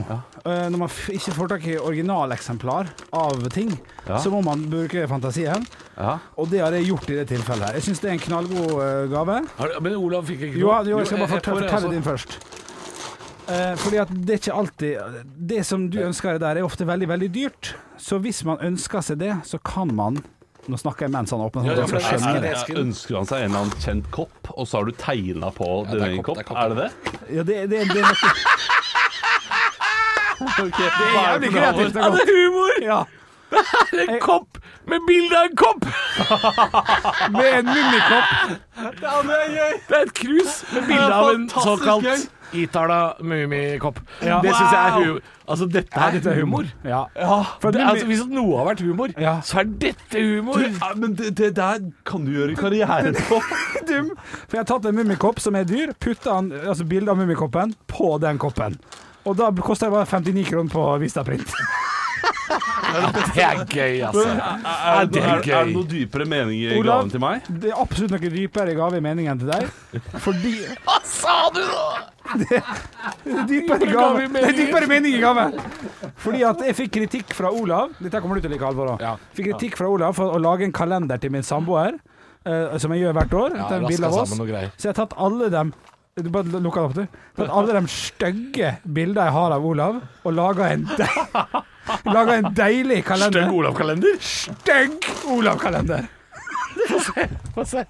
Eh, når man f ikke får tak i originaleksemplar av ting, Ja. så må man bruke fantasien, Ja. og det har jeg gjort i det tilfellet her. Jeg syns det er en knallgod eh, gave. Har, men Olav fikk ikke Jo, noe. jo, jeg skal bare fortelle, får det, fortelle altså. din først. Eh, fordi at det er ikke alltid Det som du ønsker deg der, er ofte veldig, veldig dyrt. Så hvis man ønsker seg det, så kan man Nå snakker jeg mens han åpner. Ja, ja, sånn men at dere skal det er- skjønne det. Ja, ønsker han seg en eller annen kjent kopp, og så har du tegna på det er din egen kopp, kopp? det er Er, kopp. det det? Ja, det, det, det, det, det er jævlig kreativt. Det er godt. Altså, humor! Ja. Det er en kopp med bilde av en kopp! Med en mummikopp. Det er et krus med bilde av en såkalt Itala Mummikopp. Ja. Det syns jeg er Wow! humor. Altså, dette er, Dette er humor. Ja. For Det, mummi- altså, hvis noe har vært humor, Ja. så er dette humor. Ja, eh, men det, det der kan du gjøre karriere på. dum. For jeg har tatt en mummikopp som er dyr, putta han- altså bildet av mummikoppen på den koppen. Og da koster det bare 59 kroner på Vistaprint. Ah, Det er gøy, altså. Er, det det er, gøy? det noe dypere mening i Olav? gaven til meg? Det er absolutt noe dypere gave i meningen til deg. Fordi Hva sa du nå?! det er dypere gave i gave Det er dypere mening i gave. Fordi at jeg fikk kritikk fra Olav Dette kommer du til å like alvor av. Ja. Fikk kritikk fra Olav for å lage en kalender til min samboer, eh, som jeg gjør hvert år. Ja, Det er en raska bilde av oss. sammen og greier. Så jeg har tatt alle dem du bare lukk den opp, du. Tatt alle de stygge bildene jeg har av Olav, og laga en, de- laget en deilig kalender. Olav-kalender? Stygg Olav-kalender. Få se.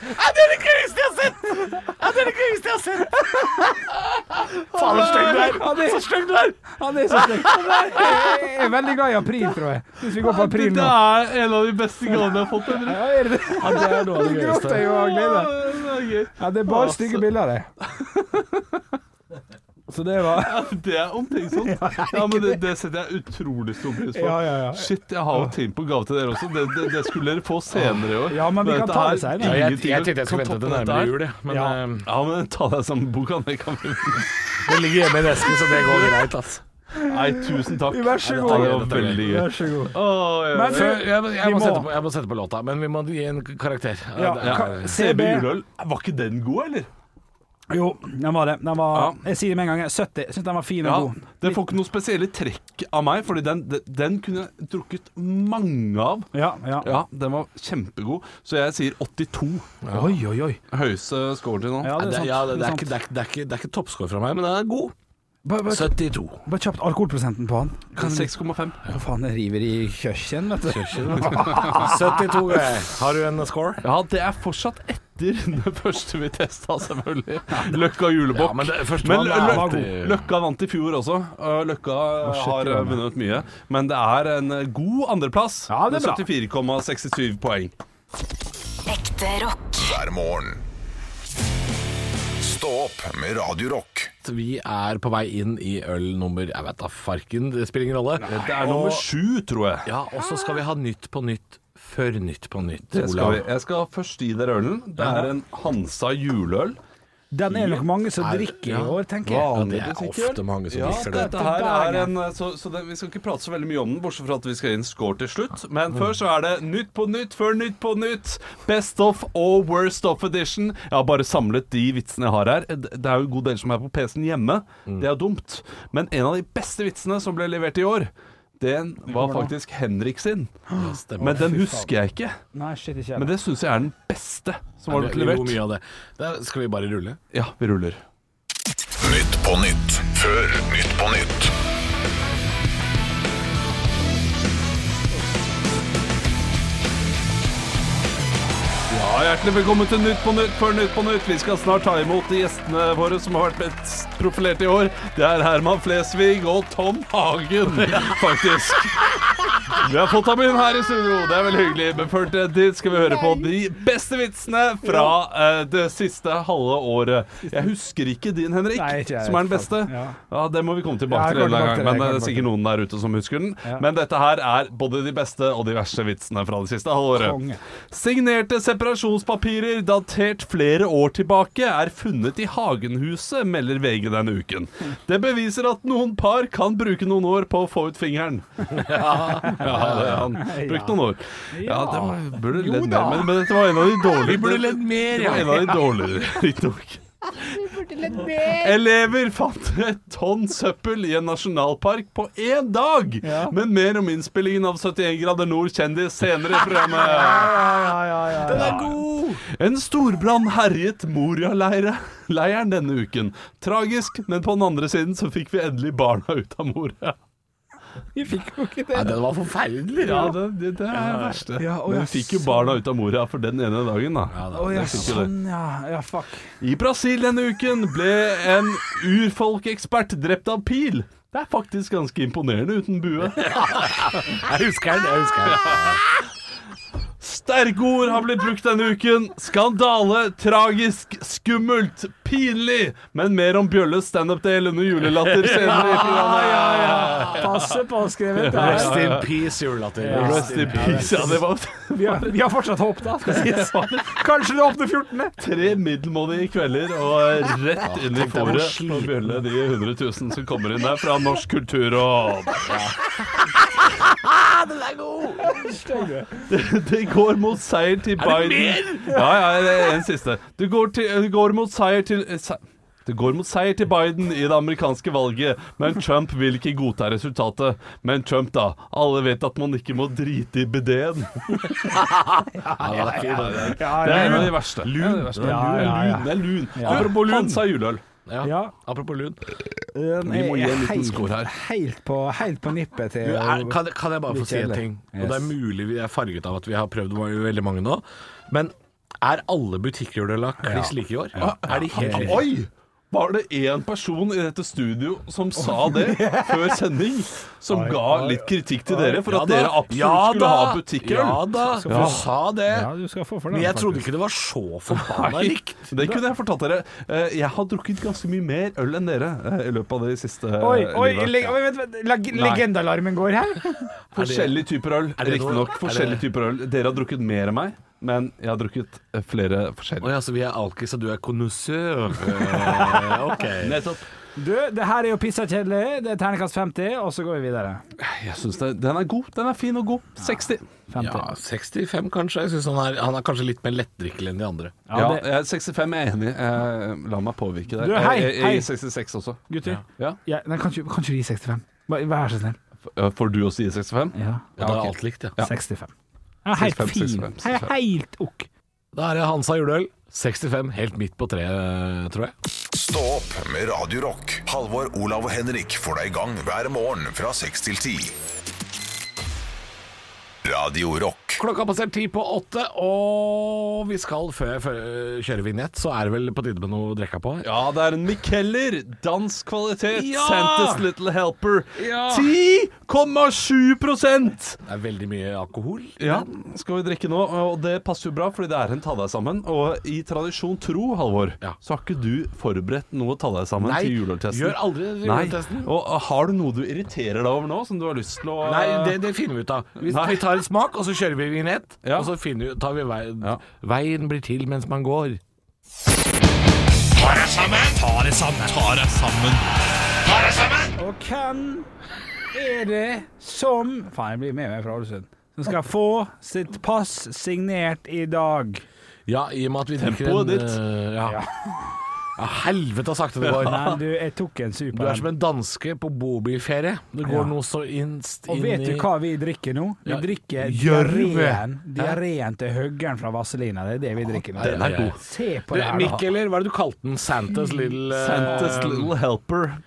Ja, det er det gøyeste jeg har sett! Ja, det er det gøyeste jeg har sett! Faen, så stygg du Ja, er! det- Så stygg du er! Han er så stygg. Jeg er veldig glad i april, tror jeg. Hvis vi går på april nå. er en av de beste gavene jeg har fått. Henrik. Ja, er det det? Ja, det er noe av Du det gråt gøyeste. deg jo av glede. Det er gøy. Ja, det er bare stygge bilder, det. Så det var Ja, Det er omtrent sånn. Ja, men det, det setter jeg utrolig stor pris på. Ja, ja, ja. Shit, jeg har jo tenkt på gave til dere også. Det, det, det skulle dere få senere i år. Ja, men vi kan dette ta det er senere. Ja, jeg, ingenting jeg tenkte jeg skulle som vente til topper dette nærmere her. jul, jeg, men Ja. eh, Ja, men ta deg sammen, boka. Det kan vi det ligger hjemme i en eske, så det går greit. Altså. Nei, tusen takk. Vær så Ja, god. Det var veldig gøy. Vær så god. Åh, ja. Men Jeg, jeg, Vi må må- sette på, jeg må sette på låta, men vi må gi en karakter. Ja, Ja, det er- ka- CB CB juleøl, var ikke den god, eller? Jo, den var det. Den var, Ja. jeg sier det med en gang. jeg. 70. Jeg syns den var fin og Ja, god. Den får ikke noe spesielle trekk av meg, Fordi den, den, den kunne jeg drukket mange av. Ja, ja. Ja, den var kjempegod, så jeg sier 82. Oi, oi, oi. Høyeste score til nå. Ja, Ja, det er det, sant. ja, det, det det, er er ikke, det, er, ikke- det, er ikke, det er ikke toppscore fra meg, men den er god. Bare, bare, 72. bare kjapt alkoholprosenten på han. Kan du 6,5. Hva faen, jeg river i kjøkken, vet du. 72 greier. eh. Har du en score? Ja, det er fortsatt etter det første vi testa, selvfølgelig. Løkka julebukk. Ja, men det første Men mann er- Lø- var god. Løkka vant i fjor også. og Løkka har vunnet mye. Men det er en god andreplass. Ja, det er bra. med 74,67 poeng. Ekte rock. hver morgen. Stå opp med Radio Rock. Vi er på vei inn i øl nummer Jeg vet da farken, det spiller ingen rolle. Det er nummer sju, tror jeg. Ja, og så skal vi ha Nytt på nytt før Nytt på nytt. Det skal Olav. vi. Jeg skal først gi dere ølen. Det er en Hansa juleøl. Den er nok mange som drikker i ja. år, tenker jeg. det er ofte mange som ja, drikker det. dette her er en, eh, så, så det, Vi skal ikke prate så veldig mye om den, bortsett fra at vi skal gi en score til slutt. Men før så er det Nytt på nytt før Nytt på nytt. Best of og worst of edition. Jeg har bare samlet de vitsene jeg har her. Eh, Det er jo en god del som er på PC-en hjemme. Det er jo dumt. Men en av de beste vitsene som ble levert i år, den var faktisk Henrik sin. Men den husker jeg ikke. Nei, shit, ikke Men jeg. det syns jeg er den beste som har Har blitt du levert? levert. Mye av det. Da skal vi bare rulle? Ja, vi ruller. Nytt på nytt før Nytt på nytt. Ja, Hjertelig velkommen til Nytt på Nytt før Nytt på Nytt. Vi skal snart ta imot de gjestene våre som har vært best profilert i år. Det er Herman Flesvig og Tom Hagen, faktisk. Vi har fått ham inn her i studio, det er veldig hyggelig. Men før det dit skal vi høre på de beste vitsene fra eh, det siste halve året. Jeg husker ikke din, Henrik, Nei, ikke jeg, som er den beste. Ja. Ja. Det må vi komme Ja, tilbake jeg til en kommer tilbake eller annen gang, til det, jeg men kommer det er sikkert noen der ute som husker den. Ja. Men dette her er både de beste og de verste vitsene fra det siste halve året. Konge. Signerte separasjonspapirer datert flere år tilbake er funnet i Hagenhuset, melder VG denne uken. Det beviser at noen par kan bruke noen år på å få ut fingeren. Ja, det, han brukte noen år. Ja, det var, burde ledd mer, men, men dette var en av de dårlige. Vi burde ledd mer, Det var ja. en av de dårligere, riktignok. Elever fant et tonn søppel i en nasjonalpark på én dag! Ja. Men mer om innspillingen av 71 grader nord kjendis senere i programmet. Den er god! En storbrann herjet Moria-leiren denne uken. Tragisk, men på den andre siden så fikk vi endelig barna ut av Moria. Vi fikk jo ikke Ja, det. den var forferdelig. Ja, det, det, det er det verste. Ja, å, men ja, vi fikk jo barna ut av Moria for den ene dagen, da. Å ja, fikk jo det. sånn ja. Ja, fuck. I Brasil denne uken ble en urfolkekspert drept av pil. Det er faktisk ganske imponerende uten bue. Jeg husker den. jeg husker den Sterke ord har blitt brukt denne uken. Skandale, tragisk, skummelt, pinlig. Men mer om Bjølles standup-del under julelatter senere i programmet. Passe på å skrive ut det. Rest in peace, julelatter. Rest in peace. Ja, det var Vi har, vi har fortsatt håp, da. Skal sies. Kanskje det åpner 14. tre middelmådige kvelder og rett inn i tenk deg hvor fòret på Bjølle, de 100 000 som kommer inn der fra Norsk kulturråd. Den er god! Det går mot seier til Biden Ja, ja, det er en siste. Det går, til, det går mot seier til eh, se- det går mot seier til Biden i det amerikanske valget, men Trump vil ikke godta resultatet. Men Trump, da. Alle vet at man ikke må drite i bideen. Ja, det er fint, det. Det er en av de verste. Lun. Det Ja, er ja, ja. lun. Det er lun. Apropos lun. Han sa juleøl. Ja, Apropos lun. vi må gi en liten score her. Helt på, helt på nippet til Du, er, kan, kan jeg bare få Litt si en kjedelig. ting? Og Yes. Det er mulig vi er farget av at vi har prøvd mange- veldig mange nå. Men er alle butikkjuløla kliss like i år? Ah, Er de helt like? Oi! Var det én person i dette studio som sa det før sending? Som ga litt kritikk til dere for Ja at da. dere absolutt Ja skulle da. ha butikkøl? Ja da, du sa det. Ja, du skal få for den, Men jeg trodde faktisk. ikke det var så forbanna Nei, likt. Det kunne jeg fortalt dere. Eh, Jeg har drukket ganske mye mer øl enn dere eh, i løpet av det siste eh, Oi, oi, livet. leg oi, vent, vent, leg legendealarmen går her? Forskjellige typer øl, Er det noe- riktignok. er det- Forskjellige typer øl. Dere har drukket mer enn meg, men jeg har drukket eh, flere Å forskjellige. ja, så altså, vi er alkis, og du er konnoisseur. Eh, Ok. Nettopp. Du, det her er jo pissa kjedelig. Det er terningkast 50, og så går vi videre. Jeg synes det, Den er god. Den er fin og god. 60. 50. Ja, 65 kanskje. Jeg synes han, er, han er kanskje litt mer lettdrikkelig enn de andre. Ja, Ja, det- jeg er 65 jeg er enig. Eh, la meg påvirke der. Du, hei, jeg, jeg, hei. jeg er 66 også. Gutter, Ja. ja, nei, kan ikke kan ikke du gi 65? Bare- Vær så snill. Eh, Får du også gi 65? Ja, Og da er alt likt, ja. 65. Ja, helt 65, fin. 65, He- Helt ok. Da er det Hansa juleøl. 65, helt midt på treet, tror jeg. Stå opp med Radio Rock. Halvor, Olav og Henrik får deg i gang hver morgen fra 6 til 10. Radio Rock. Klokka passer ti på åtte, og vi skal før jeg fø- kjører vignett, så er det vel på tide med noe å drikke på? Ja, det er en Mikeller. Dansk kvalitet. Ja! Santas Little Helper. Ja! 10,7 Det er veldig mye alkohol. Ja, skal vi drikke nå? Og det passer jo bra, fordi det er en ta deg sammen. Og i tradisjon tro, Halvor, Ja. så har ikke du forberedt noe ta deg sammen Nei, til juleøltesten. gjør aldri det til Nei. juleøltesten. Og uh, har du noe du irriterer deg over nå, som du har lyst til å Nei, det, det finner vi ut av. Vi, Nei. vi tar en smak, og så kjører vi vignett. Ja. Og så finner vi, tar vi veien. Ja. Veien blir til mens man går. Og hvem er det som Faen, jeg blir med meg fra Ålesund. Som skal få sitt pass signert i dag. Ja, i og med at vi Tempoet drikker en ditt. øh, ja. ja. helvete så sakte det går. Men du, jeg tok en super. Du er som en danske på bobilferie. Det går noe så innst Og inn vet du i- hva vi drikker nå? Vi Ja, drikker gjørme. diareen diareen til høggeren fra Vazelina. Det er det vi drikker nå. Den er god. Se på Du, det her, da. Mikkeler, hva er det du kalte den? Santas Little øh, Santas Little Helper.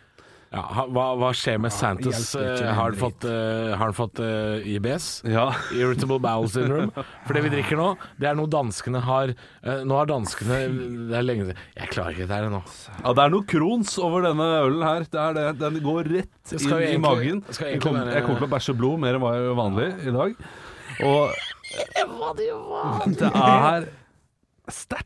Ja, ha- hva, hva skjer med Santos? hjelper ikke Eh, Har han en fått, eh, har han fått eh, IBS? Ja. Irritable Bowel Syndrome. For det vi drikker nå, det er noe danskene har eh, Nå har danskene Det er lenge siden Jeg klarer ikke dette her nå. Ja, det er noe krons over denne ølen her. Det er det. Den går rett Det inn skal jo i egentlig- magen. det skal Jeg egentlig kommer, være- jeg kommer til å bæsje blod mer enn hva jeg gjør vanlig i dag. Og det er sterkt.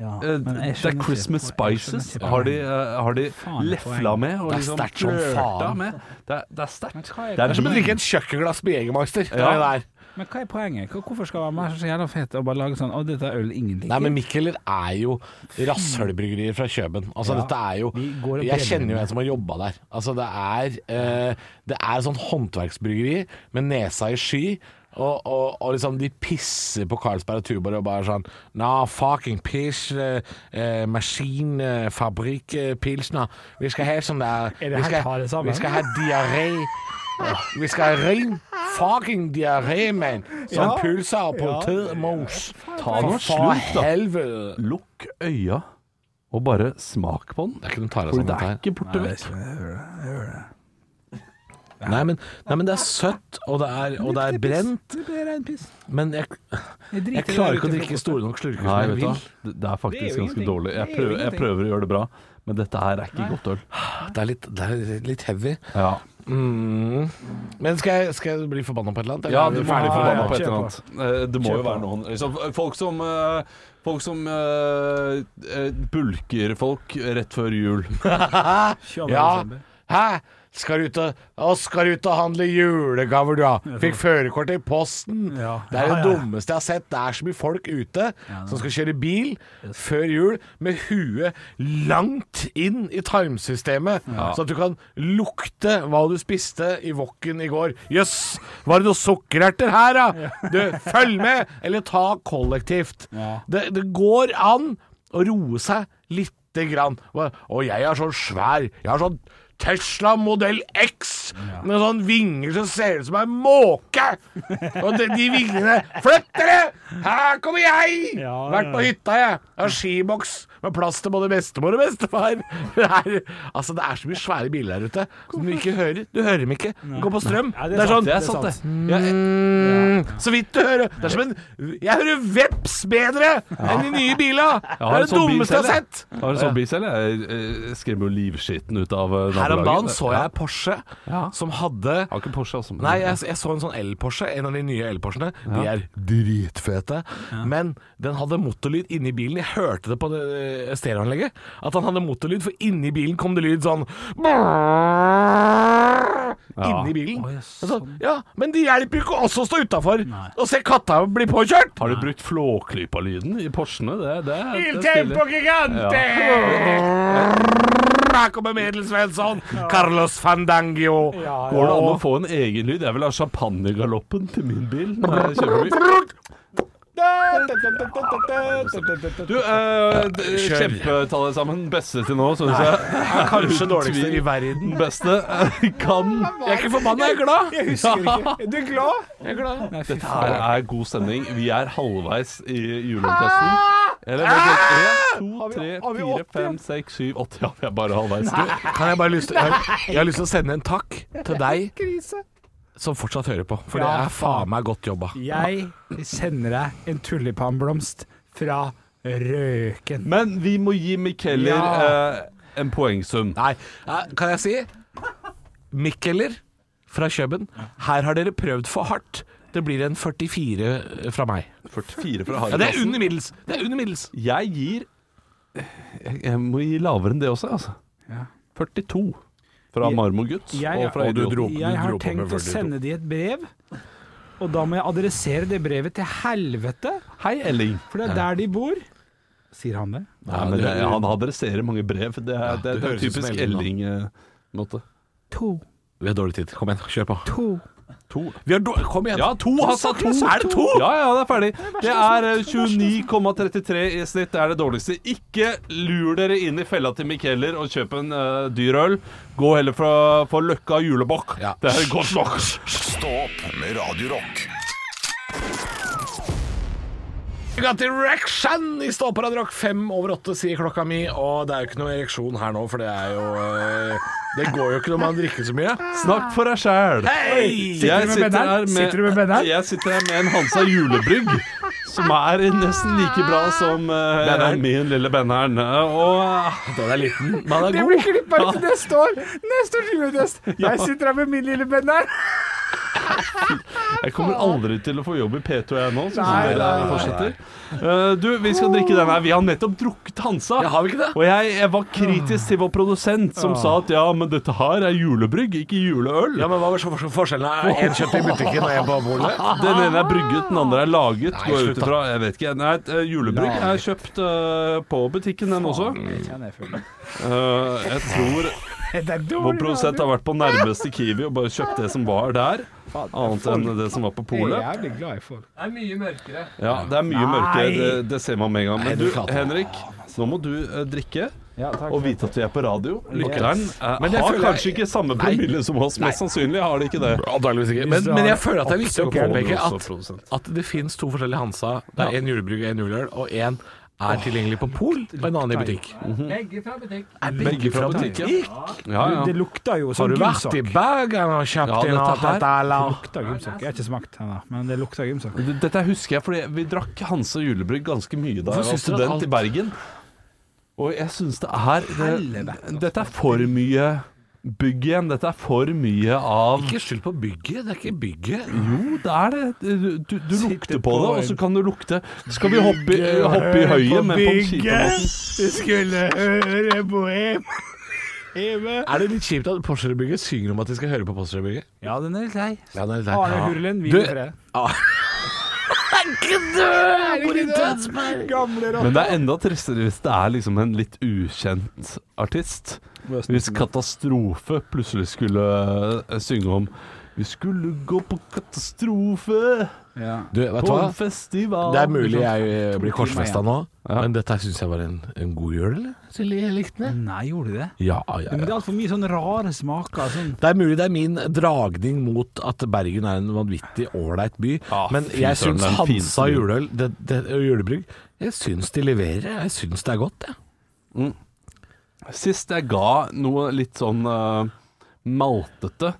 Ja, Eh, men jeg det skjønner er ikke- Christmas jeg skjønner spices. ikke Har de, poenget. eh, har de Faen, det er lefla poenget. med og Det er liksom sterkt som flørta faen. med? Det er, det er sterkt. hva er Det er Som poenget? som å en drikke et kjøkkenglass med Jegermeister. Det er Ja. det der. Men hva er poenget? Hva- Hvorfor skal man være så jævla fet og bare lage sånn Å, dette er øl ingen liker. Nei, men Mikkeler er jo rasshølbryggerier fra Kjøben. Altså, dette er Vi jo går og Jeg brenner kjenner jo en som har jobba der. Altså, det er eh, Det er sånn håndverksbryggeri med nesa i sky. Og, og, og liksom de pisser på Carlsberg og Tuborg og bare sånn Nah, fucking piss, eh, eh, maskin, eh, fabrikk, eh, pilsner. Vi skal ha sånn der Er vi det her skal, tar det sammen? vi skal ha diaré. Vi skal ha ren fucking diaré, mann. Sånn pølser på tødmos. Ta noe For slurk, da. helvete. Lukk øya og bare smak på Det den. er ikke noen tare For sammen, det dette er her. ikke borte vekk. Nei men, nei, men det er søtt, og det er, og det er brent. Det blir ren piss. Men jeg, Jeg, driter jeg i klarer det ikke å til drikke sånn. frokost. store nok slurker Nei, som jeg vet vil du ta. hva. Det det er Det er faktisk jo ganske ingenting. dårlig. Jeg Det er jo prøver, jeg ingenting. prøver å gjøre det bra, men dette her er ikke godt øl. Det er litt, det er litt heavy. Ja, Mm. Men skal jeg, skal jeg bli forbanna på et eller annet? eller ja er du vi må ferdig bli for- forbanna ja, på et kjør eller på. annet. Eh, Det må jo være noen liksom, Folk som, eh, folk som eh, eh, bulker folk rett før jul. Tjue Ja. desember. Hæ? Skal du ut og, å, skal du ut og handle julegaver, du, ja? Fikk førerkort i posten. Ja. Det er det Ja, ja. dummeste jeg har sett. Det er så mye folk ute som skal kjøre bil før jul med huet langt inn i tarmsystemet, så at du kan lukte hva du spiste i wokken i går. Jøss, var det noen sukkererter her, da? Du, følg med! Eller ta kollektivt. Det, det går an å roe seg litt lite grann. Og og jeg er sånn svær. Jeg har sånn Tesla modell X med sånn vinger som ser ut som en måke. Og de, de vingene Flytt dere! Her kommer jeg! Ja, Vært ja. på hytta, jeg. Jeg har skiboks med plass til både bestemor og bestefar. Det er, altså, det er så mye svære biler der ute som du ikke hører. Du hører dem ikke. De går på strøm. Ja, det, er sånn Det er sant, det. Jeg, Mm, så vidt du hører. Det er som en Jeg hører veps bedre enn de nye bila! Det har er en det sånn bil dummeste jeg har selv, sett! jeg har en sånn bil selv. Jeg eh, skremmer jo livskiten ut av eh, Her om dagen nabolaget. så jeg Porsche Ja. som hadde Jeg har ikke Porsche, altså. men- Nei, jeg, jeg så en sånn el-Porsche, en av de nye el-Porsene. De er dritfete. Men den hadde motorlyd inni bilen. Jeg hørte det på det, eh, stereoanlegget, at han hadde motorlyd, for inni bilen kom det lyd sånn Inni bilen. altså, ja, men det hjelper jo ikke oss å stå utafor og se katta bli påkjørt! Har du brukt flåklypa-lyden i Porsene? Det, det, det Il er tempo stilig. gigante! Her kommer Medelsvensson, Carlos Fandangio Går det an å få en egen lyd? Jeg vil ha champagnegaloppen til min bil. når jeg kjører forbi. Du, eh, d- Kjør. kjempetallet sammen. Beste til nå, syns jeg. Kanskje Uten dårligste tvil. i verden. Den beste eh, kan Jeg er ikke forbanna, jeg er glad. Jeg husker ikke. Er Du er glad? Jeg er glad. Nei, fy faen. Her er god stemning. Vi er halvveis i juletesten. Eller vent litt. En, to, tre, fire, fem, seks, syv, åtte. Ja, vi er bare halvveis. Du, Kan jeg bare lyst til, jeg, jeg har lyst til å sende en takk til deg som fortsatt hører på. For det Ja, er faen meg godt jobba. Jeg sender deg en tulipanblomst fra Røken. men vi må gi Mikkeller Ja. eh, en poengsum. Nei, eh, kan jeg si Mikkeler fra Kjøben, her har dere prøvd for hardt. Det blir en 44 fra meg. 44 fra Ja, det er Haritas. under middels. Det er under middels. Jeg gir jeg, jeg må gi lavere enn det også, altså. 42 fra Jeg- Marmorgutt jeg- og fra og du Idioten. dro- du Jeg har dro på med tenkt å 42. sende de et brev, og da må jeg adressere det brevet til helvete, Hei, Elling. for det er der de bor. Sier han det? Ja, men det, han adresserer mange brev. Det er, det, det det er høres ut som typisk eh, Elling, Elling-måte. To. Vi har dårlig tid. Kom igjen, kjør på. To. To. Vi har dår- Kom igjen. Ja, to! Han sa to! Er det altså. to? Ja, ja, det er ferdig. Det er eh, 29,33 i snitt. Det er det dårligste. Ikke lur dere inn i fella til Mikkeller og kjøp en eh, dyr øl. Gå heller fra, for Løkka julebukk. Ja. Det er godt nok. Stå opp med Radio Rock. We got erection i Ståparad Rock. Fem over åtte sier klokka mi. Og det er jo ikke noe ereksjon her nå, for det er jo eh, Det går jo ikke når man drikker så mye. Snakk for deg sjæl. Hei! Jeg du med benderen? her Sitter du med benderen? Jeg sitter her med en Hansa julebrygg. Som er nesten like bra som eh, Benderen. min lille benderen. Og eh, Den er liten, men den Det er blir god. klippa ut til neste år! Neste års juletest! Jeg sitter her med min lille venn der. Jeg kommer aldri til å få jobb i P2 jeg nå. Sånn Nei, som det nei, fortsetter. Eh, du, vi skal drikke den her. Vi har nettopp drukket Hansa. Ja, har vi ikke det? Og jeg, jeg var kritisk til vår produsent, som sa at ja, men dette her er julebrygg, ikke juleøl. Ja, men hva er så- så forskjellen? Er én kjøpt i butikken og én på bordet? Den ene er brygget, den andre er laget. Nei, Går jeg slutt ut da. ifra. Jeg vet ikke. Nei, et, eh, julebrygg er kjøpt eh, på butikken, den også. Eh, jeg tror Det er Vår dårlig produsent har vært på nærmeste Kiwi og bare kjøpt det som var der, annet enn det som var på Jeg er polet. jævlig glad i folk. Det er mye mørkere. Ja, det er mye Nei. mørkere, det, det ser man med en gang. Men du, Henrik hater det. Henrik, nå må du eh, drikke. Ja, takk. Og vite at vi er på radio. Lytteren eh, Men jeg har føler- kanskje ikke samme promille som oss. Mest sannsynlig har de ikke det. Antakeligvis ikke. Men, men jeg føler at det er viktig å Absolutt. påpeke Også at, produsent. at det finnes to forskjellige Hansa. Det er én julebrygg og én juleøl, og én er tilgjengelig på Pol og en annen i butikk. Begge fra butikk. Er Begge fra butikk, ja. Ja, ja. Det lukter jo Har sånn du vært i gymsokk. Bergen og kjøpt Ja, inn dette alt her- dette, eller? Lukter gymsokk. Jeg har ikke smakt ennå, men det lukter gymsokk. D- Dette husker jeg, fordi vi drakk Hanse julebrygg ganske mye da Hvorfor jeg var synes dere student alt- i Bergen. Og jeg syns det er det, altså. Dette er for mye bygg igjen. Dette er for mye av Ikke skyld på bygget, det er ikke bygget. Jo, det er det. Du, du lukter på det, og så kan du lukte Skal vi hoppe, i- hoppe Eh, i høyet, men på en kjip måte? Du skulle høre på hjemme. Er det litt kjipt at Porsgrunn-bygget synger om at de skal høre på Porsgrunn-bygget? Ja, den er litt lei. Ja, det er litt leit. Are Ja. Hurlen, hvil Du- i fred. Men det er enda tristere hvis det er liksom en litt ukjent artist. Hvis Katastrofe plutselig skulle eh, synge om Vi skulle gå på katastrofe Ja. Du, vet du på hva? en festival. Det er mulig jeg eh, blir korsfesta nå, Ja. men dette syns jeg var en, en god jul, eller? Silje, jeg likte den. Nei, gjorde du det? Ja, ja, Men det ja. er altfor mye sånn rare smaker. Sånn. Det er mulig det er min dragning mot at Bergen er en vanvittig ålreit by, Ja, men fy jeg søren, syns det er den fineste Hansa byen. juleøl det- det- og julebrygg Jeg syns de leverer. Jeg syns det er godt, jeg. Sist jeg ga noe litt sånn eh, maltete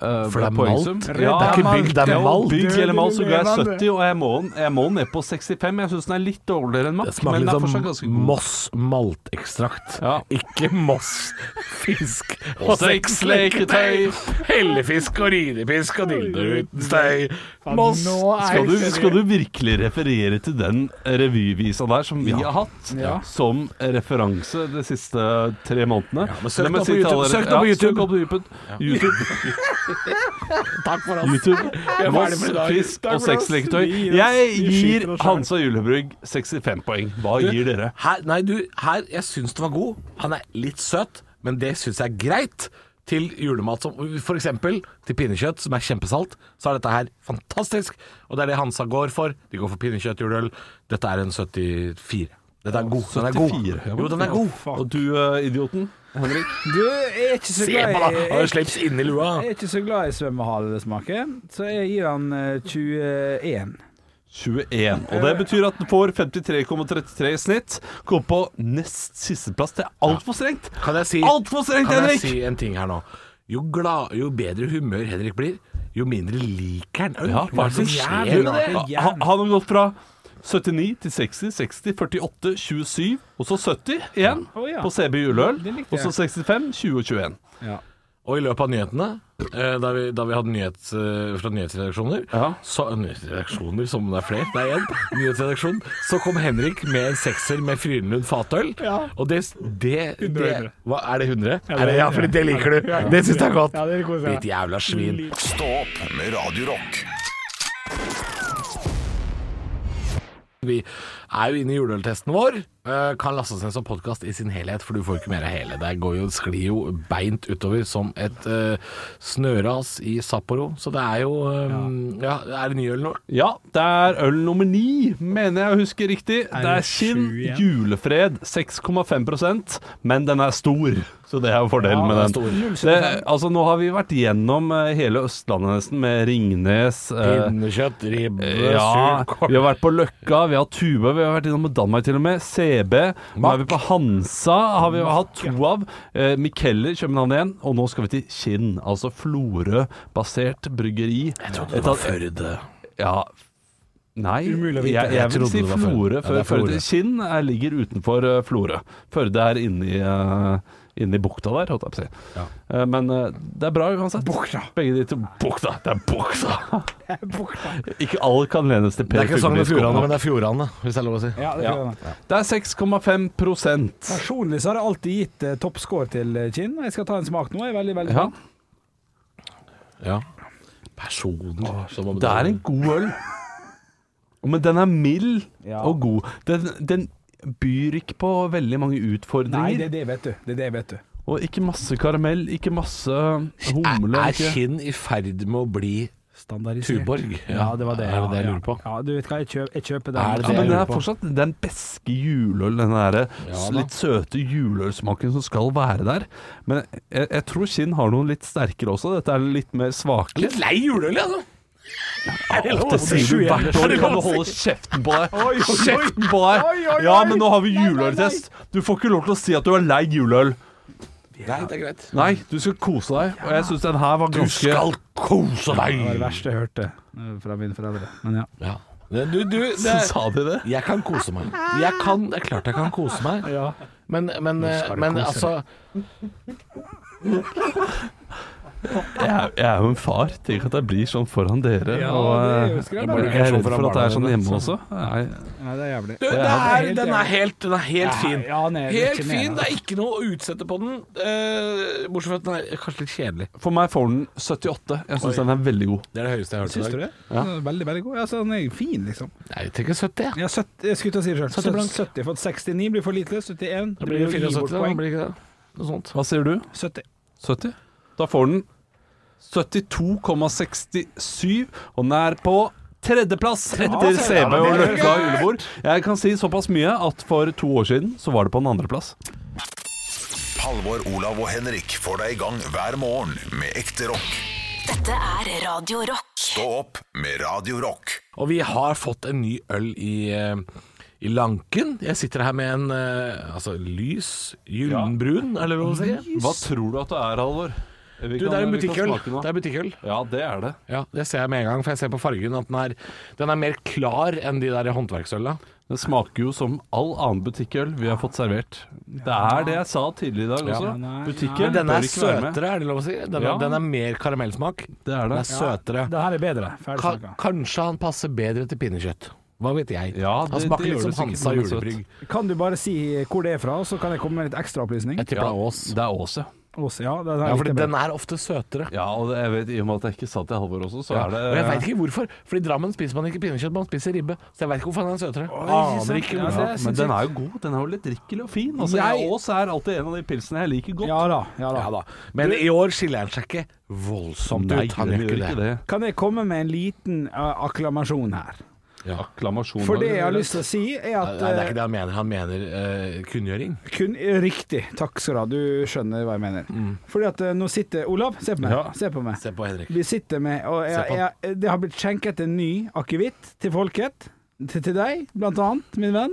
eh, For det er poengsum. malt? Det er Ja, ikke bygg, det er malt. Bygg eller malt, så ga jeg 70, og jeg må, jeg må ned på 65. Jeg syns den er litt dårligere enn Det Mack, smaker liksom men den er litt fortsatt ganske som god. Moss maltekstrakt. Ja. Ikke Moss fisk og Og sexleketøy. Hellefisk og ridefisk og dildo uten støy. Moss Skal du, skal du virkelig referere til den revyvisa der som vi har hatt som referanse de siste tre månedene? Ja, men søk La den meg opp på si til YouTube, alle- søk den opp på Ja, YouTube. søk opp på YouTube. YouTube. Takk for oss. YouTube. Moss, for i dag. fisk Takk og for oss. sexleketøy. Vi gir oss- Jeg vi skyter gir oss selv. Hansa Julebrygg 65 poeng. Hva gir dere? Her, nei, du, her, jeg syns den var god. Han er litt søt, men det syns jeg er greit. Til julemat som for eksempel til pinnekjøtt, som er kjempesalt, så er dette her fantastisk. Og det er det Hansa går for. De går for pinnekjøtt, juleøl. Dette er en 74. Dette er god. Den er god. 74, ja. Jo, den er god. Og du, eh, idioten? Du jeg er ikke så Se glad på da, i- har du slips inni lua. Jeg er ikke så glad i svømmehallsmaker, så jeg gir han eh, 21. 21. Og det betyr at den får 53,33 i snitt. Kom på nest sisteplass. Det er altfor strengt! Kan jeg si, Altfor strengt, kan jeg Henrik! si en ting her nå? Jo, glad, jo bedre humør Henrik blir, jo mindre liker han øl. Ja, hva er det som jævlig skjer? med det? Ha- ha- Han har gått fra 79 til 60, 60, 48, 27, og så 70 igjen Å, ja. på CB Juleøl. Det likte Og så 65, 20 og 21. Og i løpet av nyhetene, eh, da vi, da vi hadde nyhets, eh, fra nyhetsredaksjoner Ja. så, eh, Nyhetsredaksjoner, som om det er flere. Det er én nyhetsredaksjon. Så kom Henrik med en sekser med Frydenlund fatøl. Og det, det, det hva, Er det 100? Ja, er det, ja fordi det liker du. Det syns jeg er godt. det koser jeg. Ditt jævla svin. Stå opp med Radio Rock. Vi er jo inne i juleøltesten vår. Eh, Kan lastes ned som podkast i sin helhet, for du får jo ikke mer av hele. Det går jo, sklir jo beint utover som et eh, snøras i Sapporo. Så det er jo eh, ja. er det ny øl nå? Ja, det er øl nummer ni, mener jeg å huske riktig. Det er Kinn sju igjen? julefred, 6,5 men den er stor. Så det er jo fordelen med den er den. Det, altså, nå har vi vært gjennom eh, hele Østlandet nesten, med Ringnes eh, Pinnekjøtt, ribbe, Ja, surkål vi har vært på Løkka, vi har hatt Tuve, vi har vært innom Danmark til og med. CB. Nå er vi på Hansa, har vi hatt to av. Eh, Mikeller, København igjen. Og nå skal vi til Kinn, altså Florø-basert bryggeri. Jeg Det var Førde. Ja Nei, Umulig å vite. jeg, jeg Jeg vil trodde si det var Førde. Ja, Florø det før er Førde. Florø. Kinn eh, ligger utenfor eh, Florø. Førde er inni, eh, inni bukta der, holdt jeg på å si. Eh, men eh, det er bra uansett. Bukta. Begge de to Bukta! Det er bukta! Ikke alle kan lenes til Det Per er ikke Sogn og Fugellis Fjordane, komme. men det er Fjordane, hvis det er lov å si. Ja, det Ja. tror jeg nok. Det er 6,5 prosent. Personlig så har jeg alltid gitt eh, toppscore til eh, Kinn. Jeg skal ta en smak nå. Jeg er veldig, veldig Ja. spent. Ja. Personen som om Det er en god øl. Men den er mild Ja. og god. Den, den byr ikke på veldig mange Nei, utfordringer. det er det, vet du. Det er det, vet du. Og ikke masse karamell, ikke masse Er, humle. er Ikke. Kinn i ferd med å bli Standardisert. Tuborg? Ja, det var det. Er det det jeg ja, lurer på? Ja, du vet hva, jeg kjøper, jeg kjøper den. Er det Ja, men jeg det lurer er på. fortsatt den beske juleøl, den derre Ja da. litt søte juleølsmaken som skal være der. Men jeg, jeg tror Kinn har noen litt sterkere også. Dette er litt mer svakere. Litt lei juleøl, altså. Er det lov å Det si? sier du hvert år. det Kan du lov å holde kjeften på deg? Oi, oi, oi. Kjeften på deg! Oi, oi, oi. Ja, men nå har vi Nei, nei, nei. juleøltest. Du får ikke lov til å si at du er lei juleøl. Nei, det er greit. Nei, du skal kose deg. Og jeg syns den her var Du ganske skal kose Det var det deg! verste jeg hørte eh, fra mine foreldre. Men ja. Ja. Det- Du, du, det, Sa de det? jeg kan kose meg. Jeg kan, det er klart jeg kan kose meg. Men, men, men altså Jeg er, jeg er jo en far. Tenk at jeg blir sånn foran dere. Ja, og det er jo eh, jeg skremmende. blir- jeg er redd for at jeg er sånn hjemme også. Nei, Nei, det er jævlig. Du, det er, den er helt, den er helt fin. Ja, den Eh, er Helt litt fin. imponerende. Det er ikke noe å utsette på den. eh, Bortsett fra at den er kanskje litt kjedelig. for meg får den 78. Jeg syns den er veldig god. Det er det høyeste jeg har hørt Syns du det? Den er Veldig, veldig god. Altså, den er fin, liksom. Nei, jeg tenker 70, jeg. Ja, 70, jeg skulle til å si det selv. 70 blank. 70 for at 69 blir for lite. 71 Da blir det å gi 74, bort da. poeng. Blir det ikke det? Noe sånt. Hva sier du? 70. 70? Da får den 72,67, og den er på tredjeplass etter Tredjeplass, ja. CB og Ja, det er Løkka og julebord. Jeg kan si såpass mye at for to år siden så var det på en andreplass. Halvor, Olav og Henrik får deg i gang hver morgen med ekte rock. Dette er Radio Rock. Stå opp med Radio Rock. Og vi har fått en ny øl i, eh, i lanken. Jeg sitter her med en eh, altså, lys gyllenbrun, er det lov å si? Hva tror du at det er, Halvor? Vi Du, kan- det er en vi kan butikkøl. smake nå. Det er butikkøl. Ja, det er det. Ja, det ser jeg med en gang, for jeg ser på fargen at den er, den er mer klar enn de der håndverksøla. Det smaker jo som all annen butikkøl vi har fått servert. Det er det jeg sa tidligere i dag også. nei, Butikkøl Den bør er ikke være med. søtere, er det lov å si? Den, Ja. er, den er mer karamellsmak. Det er Den det. er søtere. Det her er bedre. Ferdig Ka snakka. kanskje han passer bedre til pinnekjøtt. Hva vet jeg. Ja, han det- smaker det gjør litt det som sikkert, Hansa men søt. julebrygg. Kan du bare si hvor det er fra, så kan jeg komme med litt ekstraopplysning? Jeg tipper det er Ås. Det er Ås, ja. Ås, Ja, den Ja, er for litt bedre. den er ofte søtere. Ja, og det- jeg vet, I og med at jeg ikke sa til Halvor også, så Ja. er det Og jeg veit ikke hvorfor. For i Drammen spiser man ikke pinnekjøtt, man spiser ribbe. Så jeg veit ikke hvorfor den er søtere. ikke sant. Aner ikke hvorfor. Ja, det er Men sinnssykt. den er jo god. Den er jo litt drikkelig og fin. Altså, Jeg- jeg Ås er alltid en av de pilsene jeg liker godt. Ja da. Ja da. Ja da. Men i år skiller han seg ikke voldsomt Nei, ut. Han den gjør ikke det. Kan jeg komme med en liten eh, akklamasjon her? Klamasjon For det jeg har lyst til å si, er Nei, at det er ikke det han mener. Han mener eh, kunngjøring. eh, kun, Riktig. Takk skal du ha. Du skjønner hva jeg mener. Fordi at eh, nå sitter Olav, se på meg. Ja. Se på meg. Mm. Se på Henrik. Vi sitter med og Se på jeg, han. jeg, Det har blitt skjenket en ny akevitt til folket. Til, til deg, blant annet, min venn.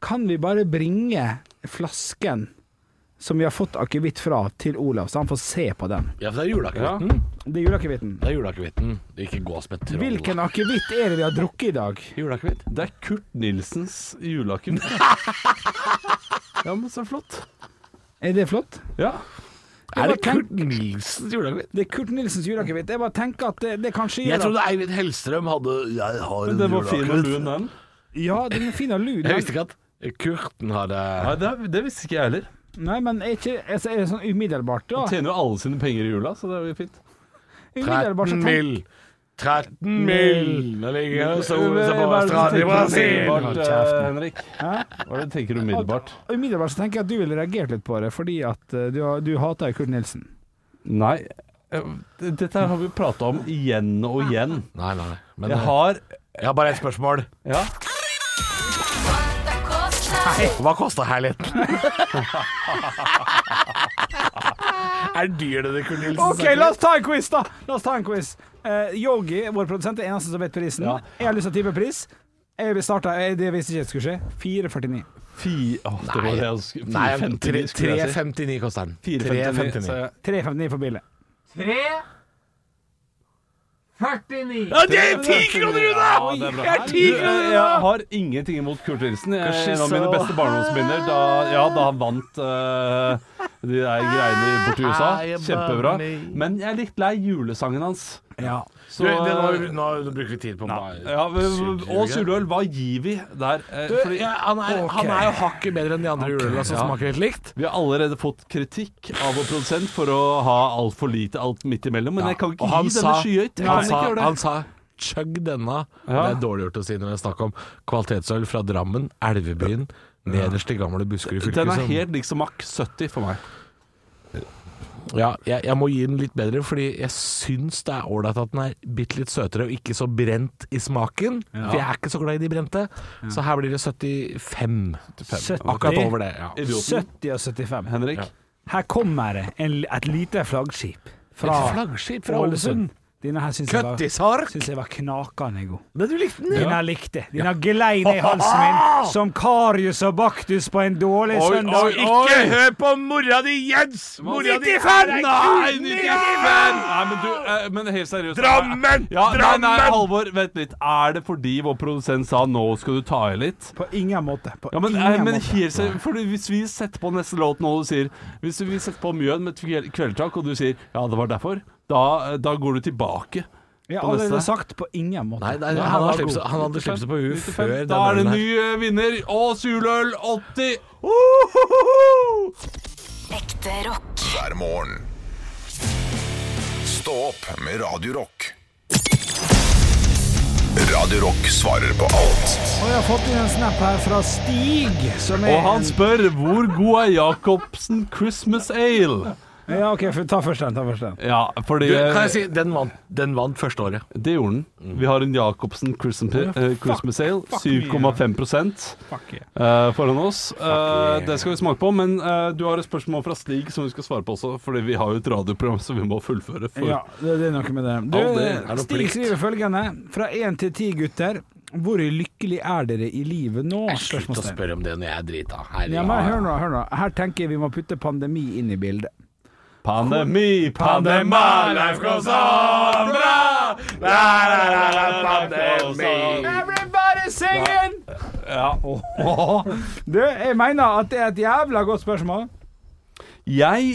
Kan vi bare bringe flasken som vi har fått akevitt fra, til Olav, så han får se på den? Ja, for det er juleakevitten. Det er juleakevitten. Det er juleakevitten. Ikke gå som et troll. Hvilken akevitt er det vi har drukket i dag? juleakevitt? Det er Kurt Nilsens julelaken. ja, men så flott. Er det flott? Ja. Er det bare tenk- Kurt Nilsens juleakevitt? Det er Kurt Nilsens juleakevitt. Jeg bare tenker at det, det kanskje Jeg gjør at trodde Eivind Hellstrøm hadde Jeg har Men en den var fin og lun, juleakevitt. den. Ja, den er fin og lun. Jeg visste ikke at Kurten hadde Nei, det, det visste ikke jeg heller. Nei, men er, ikke, altså, er det sånn umiddelbart, Han da? tjener jo alle sine penger i jula, så det er jo fint. Umiddelbart 13 så tenker mil. 13 mil. Nå ligger jeg og soler seg på Hva er det stranden i du tenker Brasil. umiddelbart, eh, Henrik? Hva er det du tenker umiddelbart? Umiddelbart så tenker jeg at du ville reagert litt på det, fordi at eh, du, har- du hater Kurt Nilsen. Nei, eh, dette her har vi prata om igjen og igjen. Nei, nei, nei. Men eh, Jeg har jeg har bare ett spørsmål. Ja. Hva kosta herligheten? er dyr det det Kurt Nilsen OK, la oss ta en quiz, da! La oss ta en quiz. Eh, Yogi, vår produsent, er eneste som vet prisen. Ja. Jeg har lyst til å tippe pris. Jeg starta, det visste ikke jeg skulle skje. 4,49. Fi... Åh, det var det jeg skulle Nei, 4,59 skulle jeg si. 3,59 koster den. 4,59, 3,59. sa Eh. jeg. 3,59 for billig. 3 49. Ja, det er ti kroner unna! Ja, det er bra. Jeg er ti Du, kroner eh, unna! Jeg har ingenting imot Kurt Nilsen. Jeg- Kanskje En av mine så- beste barndomsminner da, ja, da han vant eh, de der greiene borti USA. Hei, Kjempebra. Barney. Men jeg er litt lei julesangen hans. Ja. Så, eh, Du, det, nå, nå bruker vi tid på meg. ja, men- og Surøl, hva gir vi der? Eh, Du, Fordi ja, han, er, han er jo hakket bedre enn de andre juleølene som smaker helt likt. vi har allerede fått kritikk av vår produsent for å ha altfor lite alt midt imellom, men jeg kan Og ikke han gi sa- denne skyhøyt. Jeg Han, kan sa- ikke gjøre det. han sa 'chug denne'. Det er dårlig gjort å si når det er snakk om kvalitetsøl fra Drammen, Elvebyen, nederst i gamle Buskerud fylke. Den er som- helt lik som Mack 70 for meg. Ja, jeg, jeg må gi den litt bedre, fordi jeg syns det er ålreit at den er bitte litt søtere og ikke så brent i smaken. For jeg er ikke så glad i de brente. Så her blir det 75. 70, Akkurat over det. Ja. 70 og 75. Henrik? Her kommer det en, et lite flaggskip fra Et flaggskip fra Ålesund. Denne her syns jeg, var- Køttisark! syns jeg var knakende god. Men du likte den, Denne ja. her likte jeg. Denne glei ned i halsen min som Karius og Baktus på en dårlig søndag. hør på mora di, Jens! Mora di 95! Nei, 95! Nei, men du, eh, men helt seriøst Drammen! Ja, nei, nei, Drammen! Halvor, vent litt. Er det fordi vår produsent sa 'nå skal du ta i litt'? På ingen måte. På Ja, men, ingen eh, men måte. helt seriøst, fordi Hvis vi setter på neste låt nå og du sier Hvis vi setter på Mjøen med Kvel- Kvelertak, og du sier 'ja, det var derfor', da, eh, da går du tilbake. på Jeg har allerede neste. sagt på ingen måte. Nei, nei, Den han, var har slipset, god. han hadde slipset på huet før den Da er ølen det en her. ny eh, vinner. Ås juleøl 80! Ohohoho! Ekte rock. hver morgen. Stå opp med Radio Rock. Radio Rock svarer på alt Og jeg har fått inn en snap her fra Stig, som er Og han spør 'hvor god er Jacobsen Christmas Ale'? en- Ja, OK, f- ta først den. Ta først den. Ja, fordi eh, Du, kan jeg si, den vant, den vant første året. Det gjorde den. Vi har en Jacobsen Christmas, eh, Christmas Ale, fuck 7,5 Fuck yeah. eh, foran oss. Eh, det skal vi smake på, men eh, du har et spørsmål fra Stig som vi skal svare på også, fordi vi har jo et radioprogram som vi må fullføre. For. Ja, det, det er noe med det. Du, Ja, det er noe Stig plikt. skriver følgende. Fra én til ti gutter, hvor lykkelig er dere i livet nå? Slutt å Spørsmålstegn. spørre om det når jeg er drita. Ja, men hør nå, hør nå. Her tenker jeg vi må putte pandemi inn i bildet. Pandemi, pandema, life goes on, bra! La, la, la, la, pandemi. Everybody singing! Ja. Du, jeg mener at det er et jævla godt spørsmål. Jeg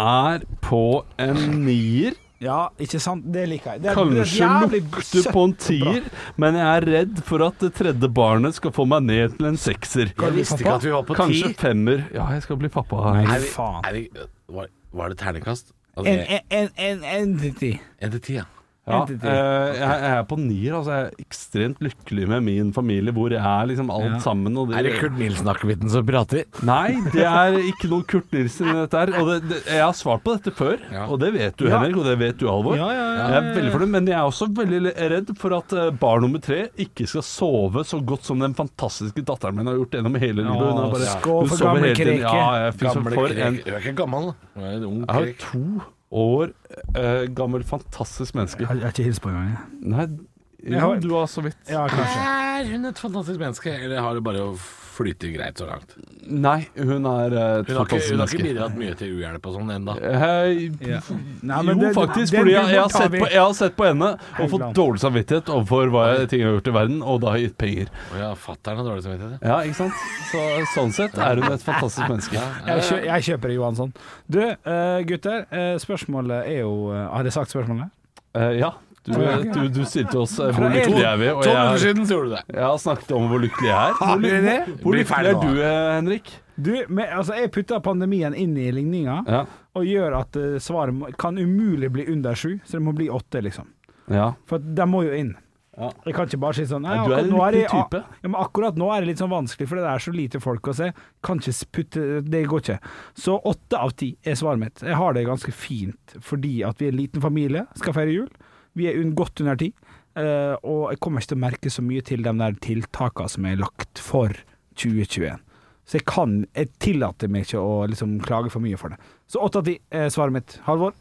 er på en nier. Ja, ikke sant? Det liker jeg. Det er- det er Kanskje et jævlig lukter søtt på en tier, men jeg er redd for at det tredje barnet skal få meg ned til en sekser. Jeg visste ikke at vi var på ti. Kanskje femmer. Ja, jeg skal bli pappa. Nei, Er vi, faen. er vi, var, var det terningkast? Altså, En, en, en, en, en entity. til ti, ja. Ja, Entity. eh, jeg jeg er på nier. Altså, jeg er ekstremt lykkelig med min familie, hvor jeg er liksom alt sammen. Og Er det Kurt Nilsen-akevitten som prater? Nei, det er ikke noe Kurt Nilsen i dette her. Og det, det, jeg har svart på dette før, Ja. og det vet du, Ja. Henrik, og det vet du, Alvor. Ja, ja, ja, ja, Jeg er veldig fornøyd, men jeg er også veldig redd for at eh, barn nummer tre ikke skal sove så godt som den fantastiske datteren min har gjort gjennom hele livet. Hun er bare, skål hun for sover gamle hele tiden. kreke. Ja, jeg fikk som for en krek. Du er ikke gammel, da. Du er en ung Jeg har krek. to år eh, gammel, fantastisk menneske. Jeg har ikke hilst på engang. Nei, Jeg jo, har- du har så vidt Ja, kanskje. Er hun et fantastisk menneske, eller har det bare flyttet greit så langt? Hun Nei, hun er eh, et har ikke, fantastisk hun har ikke menneske. bidratt mye til uhjelp og sånn ennå. Hei, Nei, jo, det- faktisk. den Fordi jeg, jeg, har humoren tar sett vi. på, jeg har sett på henne og fått Haugland. dårlig samvittighet overfor hva jeg, ting jeg har gjort i verden, og da har jeg gitt penger. Ja, fatter'n har dårlig samvittighet. Ja, ikke sant? Så, sånn sett er hun et fantastisk menneske. Jeg, kjø jeg kjøper Johansson. Du, eh, gutter. eh, spørsmålet er jo eh, Har jeg sagt spørsmålet? Eh, ja, du, du, du stilte oss eh, hvor Fra en- lykkelige er vi, og To minutter jeg, siden så gjorde du det. jeg har snakket om hvor lykkelig jeg er. Hvor, vi lykkelig- det? hvor Bli lykkelig ferdig er nå, du, eh, Henrik? Du, men, altså, jeg putter pandemien inn i ligninga, Ja. og gjør at eh, svaret må, kan umulig bli under sju, så det må bli åtte, liksom. ja. For at de må jo inn. Ja. Jeg kan ikke bare si sånn nei, Ja, du er akkurat en nå lykkelig det- ah, type. Ja, men akkurat nå er det litt sånn vanskelig, for det er så lite folk å se. Kan ikke s- putte Det går ikke. Så åtte av ti er svaret mitt. Jeg har det ganske fint fordi at vi er en liten familie, skal feire jul. Vi er un godt under ti, eh, og jeg kommer ikke til å merke så mye til de der tiltakene som er lagt for 2021. Så jeg kan Jeg tillater meg ikke å liksom klage for mye for det. Så åtte av ti er svaret mitt. Halvor?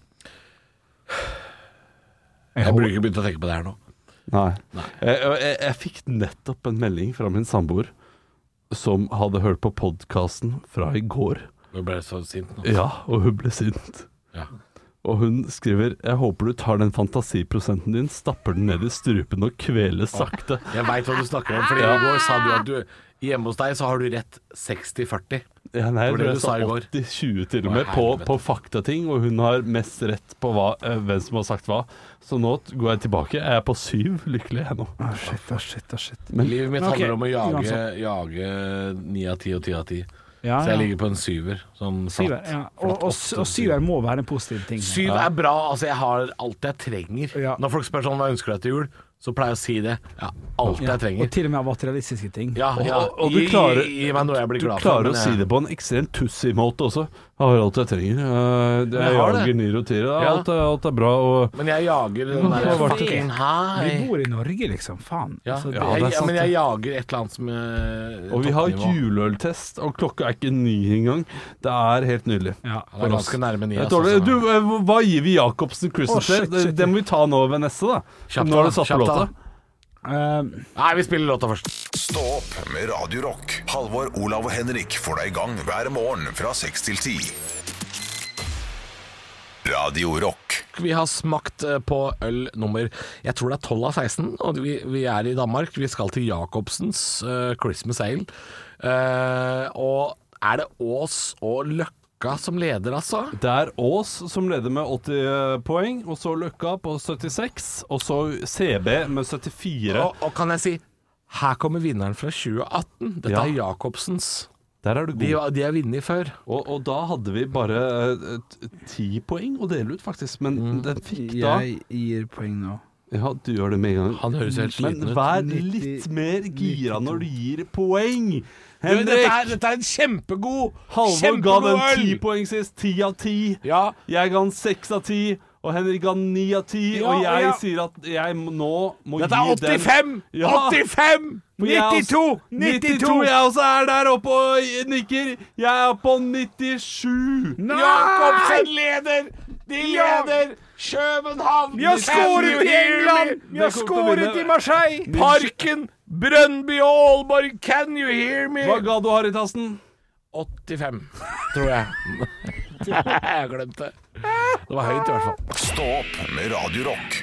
Jeg burde ikke begynt å tenke på det her nå. Nei. Jeg, jeg, jeg fikk nettopp en melding fra min samboer som hadde hørt på podkasten fra i går. Nå ble jeg så sint nå. Ja, og hun ble sint. Ja. Og hun skriver 'Jeg håper du tar den fantasiprosenten din, stapper den ned i strupen og kveler sakte'. Jeg veit hva du snakker om, Fordi i går sa du at du Hjemme hos deg så har du rett 60-40. Ja, Var det nei, jeg tror det jeg du sa sa i går? 80-20 til og Å, med på, helvete. på faktating, og hun har mest rett på hva, eh, hvem som har sagt hva. Så nå t- går jeg tilbake. Jeg er på syv. Lykkelig jeg nå. Å, shit, å, shit, å, shit. Livet mitt Men ok, handler om å jage, uansett. jage 9 av 10 og 10 av 10. Ja, Så jeg ja. ligger på en syver. Sånn flatt. Syver, ja. Flatt Og, og, åtte, og syver må være en positiv ting. Syv er bra. Altså, jeg har alt jeg trenger. Ja. Når folk spør sånn hva ønsker du deg til jul, så pleier jeg å si det. Ja, alt jeg Og trenger. til og med av materialistiske ting. Ja, Og, ja. og du Gi- klarer, gi, gi meg noe jeg blir du glad for. klarer men eh, å jeg- si det på en ekstremt tussig måte også. Jeg har alt jeg trenger. Eh, Det jeg er har det. jager nyr og tirer. Ja. Alt, er- alt er bra. Og Men jeg jager den det var der det. fucking Vi hei. bor i Norge, liksom. Faen. Ja, Altså, det- ja, det jeg, er ja, sant, men det. jeg jager et eller annet som eh, Og vi har toppnivå. juleøltest, og klokka er ikke ny engang. Det er helt nydelig. Ja. Ja, Det er ganske nærme ni. Det er altså, dårlig. så- Du, eh, hva gir vi Jacobsen Å, Christmas Day? shit, shit. Det- Det må vi ta nå ved neste, da. Kjapt nå da, har du satt på kjapt da. låta. Eh, Nei, vi spiller låta først. Stå opp med Radio Rock. Halvor, Olav og Henrik får deg i gang hver morgen fra 6 til 10. Radio Rock. Vi har smakt eh, på øl nummer Jeg tror det er 12 av 16, og vi, vi er i Danmark. Vi skal til Jacobsens eh, Christmas Ale. Eh, og er det Ås og Løkka som leder, altså? Det er Aas som leder med 80 poeng, og så Løkka på 76, og så CB med 74. Og, og kan jeg si her kommer vinneren fra 2018. Dette Ja. er Jacobsens. Der er du god. De, var- de har vunnet før. Og, og da hadde vi bare eh, t- ti poeng å dele ut, faktisk. Men Mm. den fikk da jeg gir poeng nå. Ja, du gjør det med en gang. Han høres helt sliten Men ut. vær 90 litt mer gira når du gir poeng. Du, dette, Henrik! er, dette er en kjempegod Halvor ga kjempegod den øl! ti poeng sist. Ti av ti. Ja, Jeg ga den seks av ti. Og Henrik ga den ni av ti. Ja, og jeg ja. sier at jeg må- nå må dette gi er 85! den Ja. 85! For jeg er også- 92! 92! Jeg også er der oppe og nikker. Jeg er på 97. Jacobsen leder! De leder! København! Vi har skåret i England! Vi har Det kommer til å skåret vinne. i Marseille! Parken! Brøndby og Aalborg, can you hear me? Hva ga du Harry-tassen? 85, tror jeg. jeg har glemt det. Det var høyt i hvert fall. Stå opp med Radio Rock.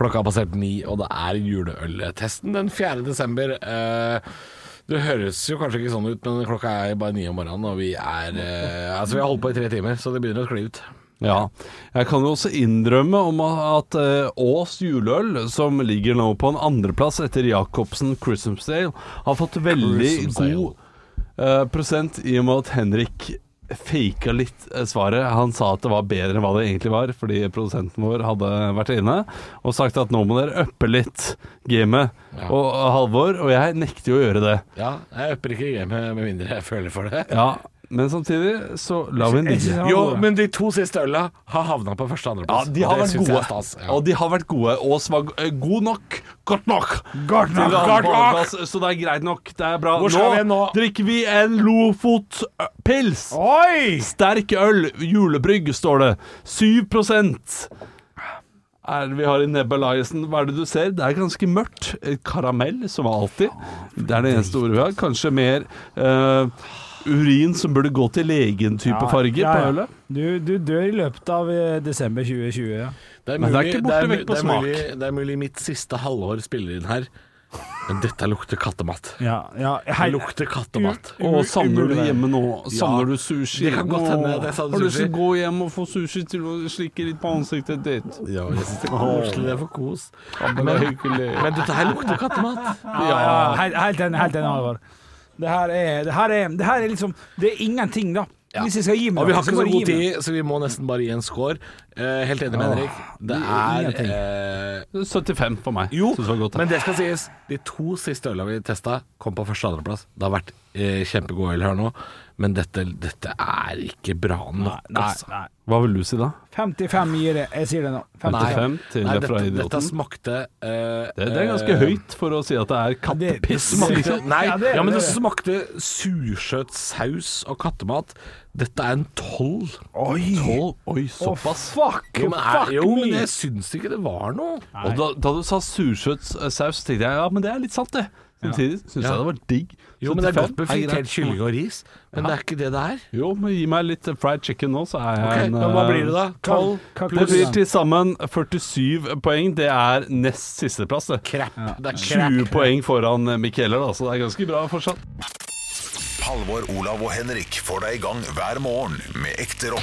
Klokka har passert ni, og det er juleøltesten den 4. desember. Eh, det høres jo kanskje ikke sånn ut, men klokka er bare ni om morgenen, og vi er eh, Altså, vi har holdt på i tre timer, så det begynner å skli ut. Ja. Jeg kan jo også innrømme om at eh, Aas juleøl, som ligger nå på en andreplass etter Jacobsen Christmasdale, har fått veldig Christmasdale. god eh, prosent i og med at Henrik faka litt eh, svaret. Han sa at det var bedre enn hva det egentlig var, fordi produsenten vår hadde vært inne og sagt at nå må dere uppe litt gamet. Ja. Og Halvor og jeg nekter jo å gjøre det. Ja, jeg upper ikke gamet med mindre jeg føler for det. Ja, men samtidig så lar vi den Jeg synes ligge. han var Jo, god, da. men de to siste øla har havna på første og Ja, andreplass. de har og det vært synes jeg gode. er stas. Ja. Og de har vært gode. Aas var g- eh, god nok. Godt nok. Godt Til nok, å ha godt på nok. plass, Så det er greit nok. Det er bra. Hvor skal vi nå? drikker vi en Lofotpils. Oi! Sterk øl. Julebrygg, står det. 7 er det vi har i Nebulizen? Hva er det du ser? Det er ganske mørkt. Eh, Karamell, som alltid. Det er det eneste ordet vi har. Kanskje mer eh, urin som burde gå til legen-type farger Ja, ja. på ølet. Du, du dør i løpet av eh, desember 2020. Ja. Det er Men det er ikke borte mu- vekk på det er smak. Mulig, det er mulig mitt siste halvår spiller inn her, men dette lukter kattemat. Ja, ja, Det hei. lukter kattemat. U- Og savner du umulig. hjemme nå? Savner Ja, du sushi? det kan godt Åh, hende at jeg savner Har du lyst til sushi. å gå hjem og få sushi til å slikke litt på ansiktet ditt? Ja, jeg synes det er koselig. Det er for kos. men det er hyggelig. men dette her lukter kattemat. Ja, helt- Helt enig, helt enig, Halvor. Det her er Det her er, det her er liksom Det er ingenting, da. Hvis jeg skal gi meg Og vi noe, har så ikke må så jeg god gi meg. tid, så vi må nesten bare gi en score. Eh, helt enig med Henrik. Det er eh, 75 for meg. Jo, Synes det var godt, men det skal sies. De to siste øla vi testa, kom på første og andreplass. Det har vært eh, kjempegod øl her nå, men dette, dette er ikke bra nok. Nei, altså. nei. Hva vil du si da? 55 gir det. Jeg sier det nå. 55. 55 til Nei, fra dette, dette idioten? smakte eh, Det, det er ganske eh, høyt liksom. for å si at det er kattepiss. Det- det- Smakte, nei, Ja, ja, det er det, men det det er det. smakte sursøt saus og kattemat. Dette er en tolv. Oi! Tolv. Oi, Å, såpass. fuck, Jo, men, er, fuck jo, men me! jeg syns ikke det var noe. Og da, da du sa sursøt eh, saus, tenkte jeg ja, men det er litt sant, det. Samtidig syns Ja. jeg det var digg. Jo, men det er 75 godt med fritert greit. kylling og ris, men det er ikke det det er. Jo, men gi meg litt fried chicken nå, så er jeg Ok, en men hva eh, blir det da? Tolv Hva- hva- Det pluss blir til sammen 47 poeng. Det er nest sisteplass, det. crap. Det er crap. 20 poeng foran Mikkeller, da, så det er ganske bra fortsatt. Halvor, Olav og Henrik får deg i gang hver morgen med ekte rock.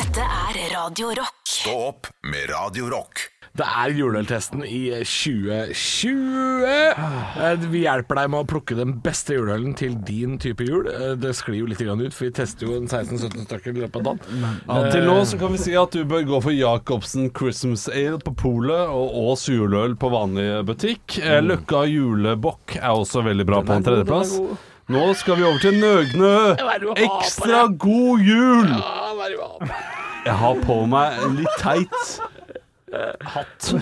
Dette er Radio Rock. Stå opp med Radio Rock. Det er juleøltesten i 2020. Eh, Vi hjelper deg med å plukke den beste juleølen til din type jul. Eh, Det sklir jo litt grann ut, for vi tester jo en 16-17 stykker i løpet av dagen. Ja, til nå så kan vi si at du bør gå for Jacobsen Christmas Ale på polet og Ås juleøl på vanlig butikk. Eh, Løkka julebokk er også veldig bra på en tredjeplass. Nå skal vi over til Nøgnø. Ekstra god jul! Ah, Jeg har på meg en litt teit hatt.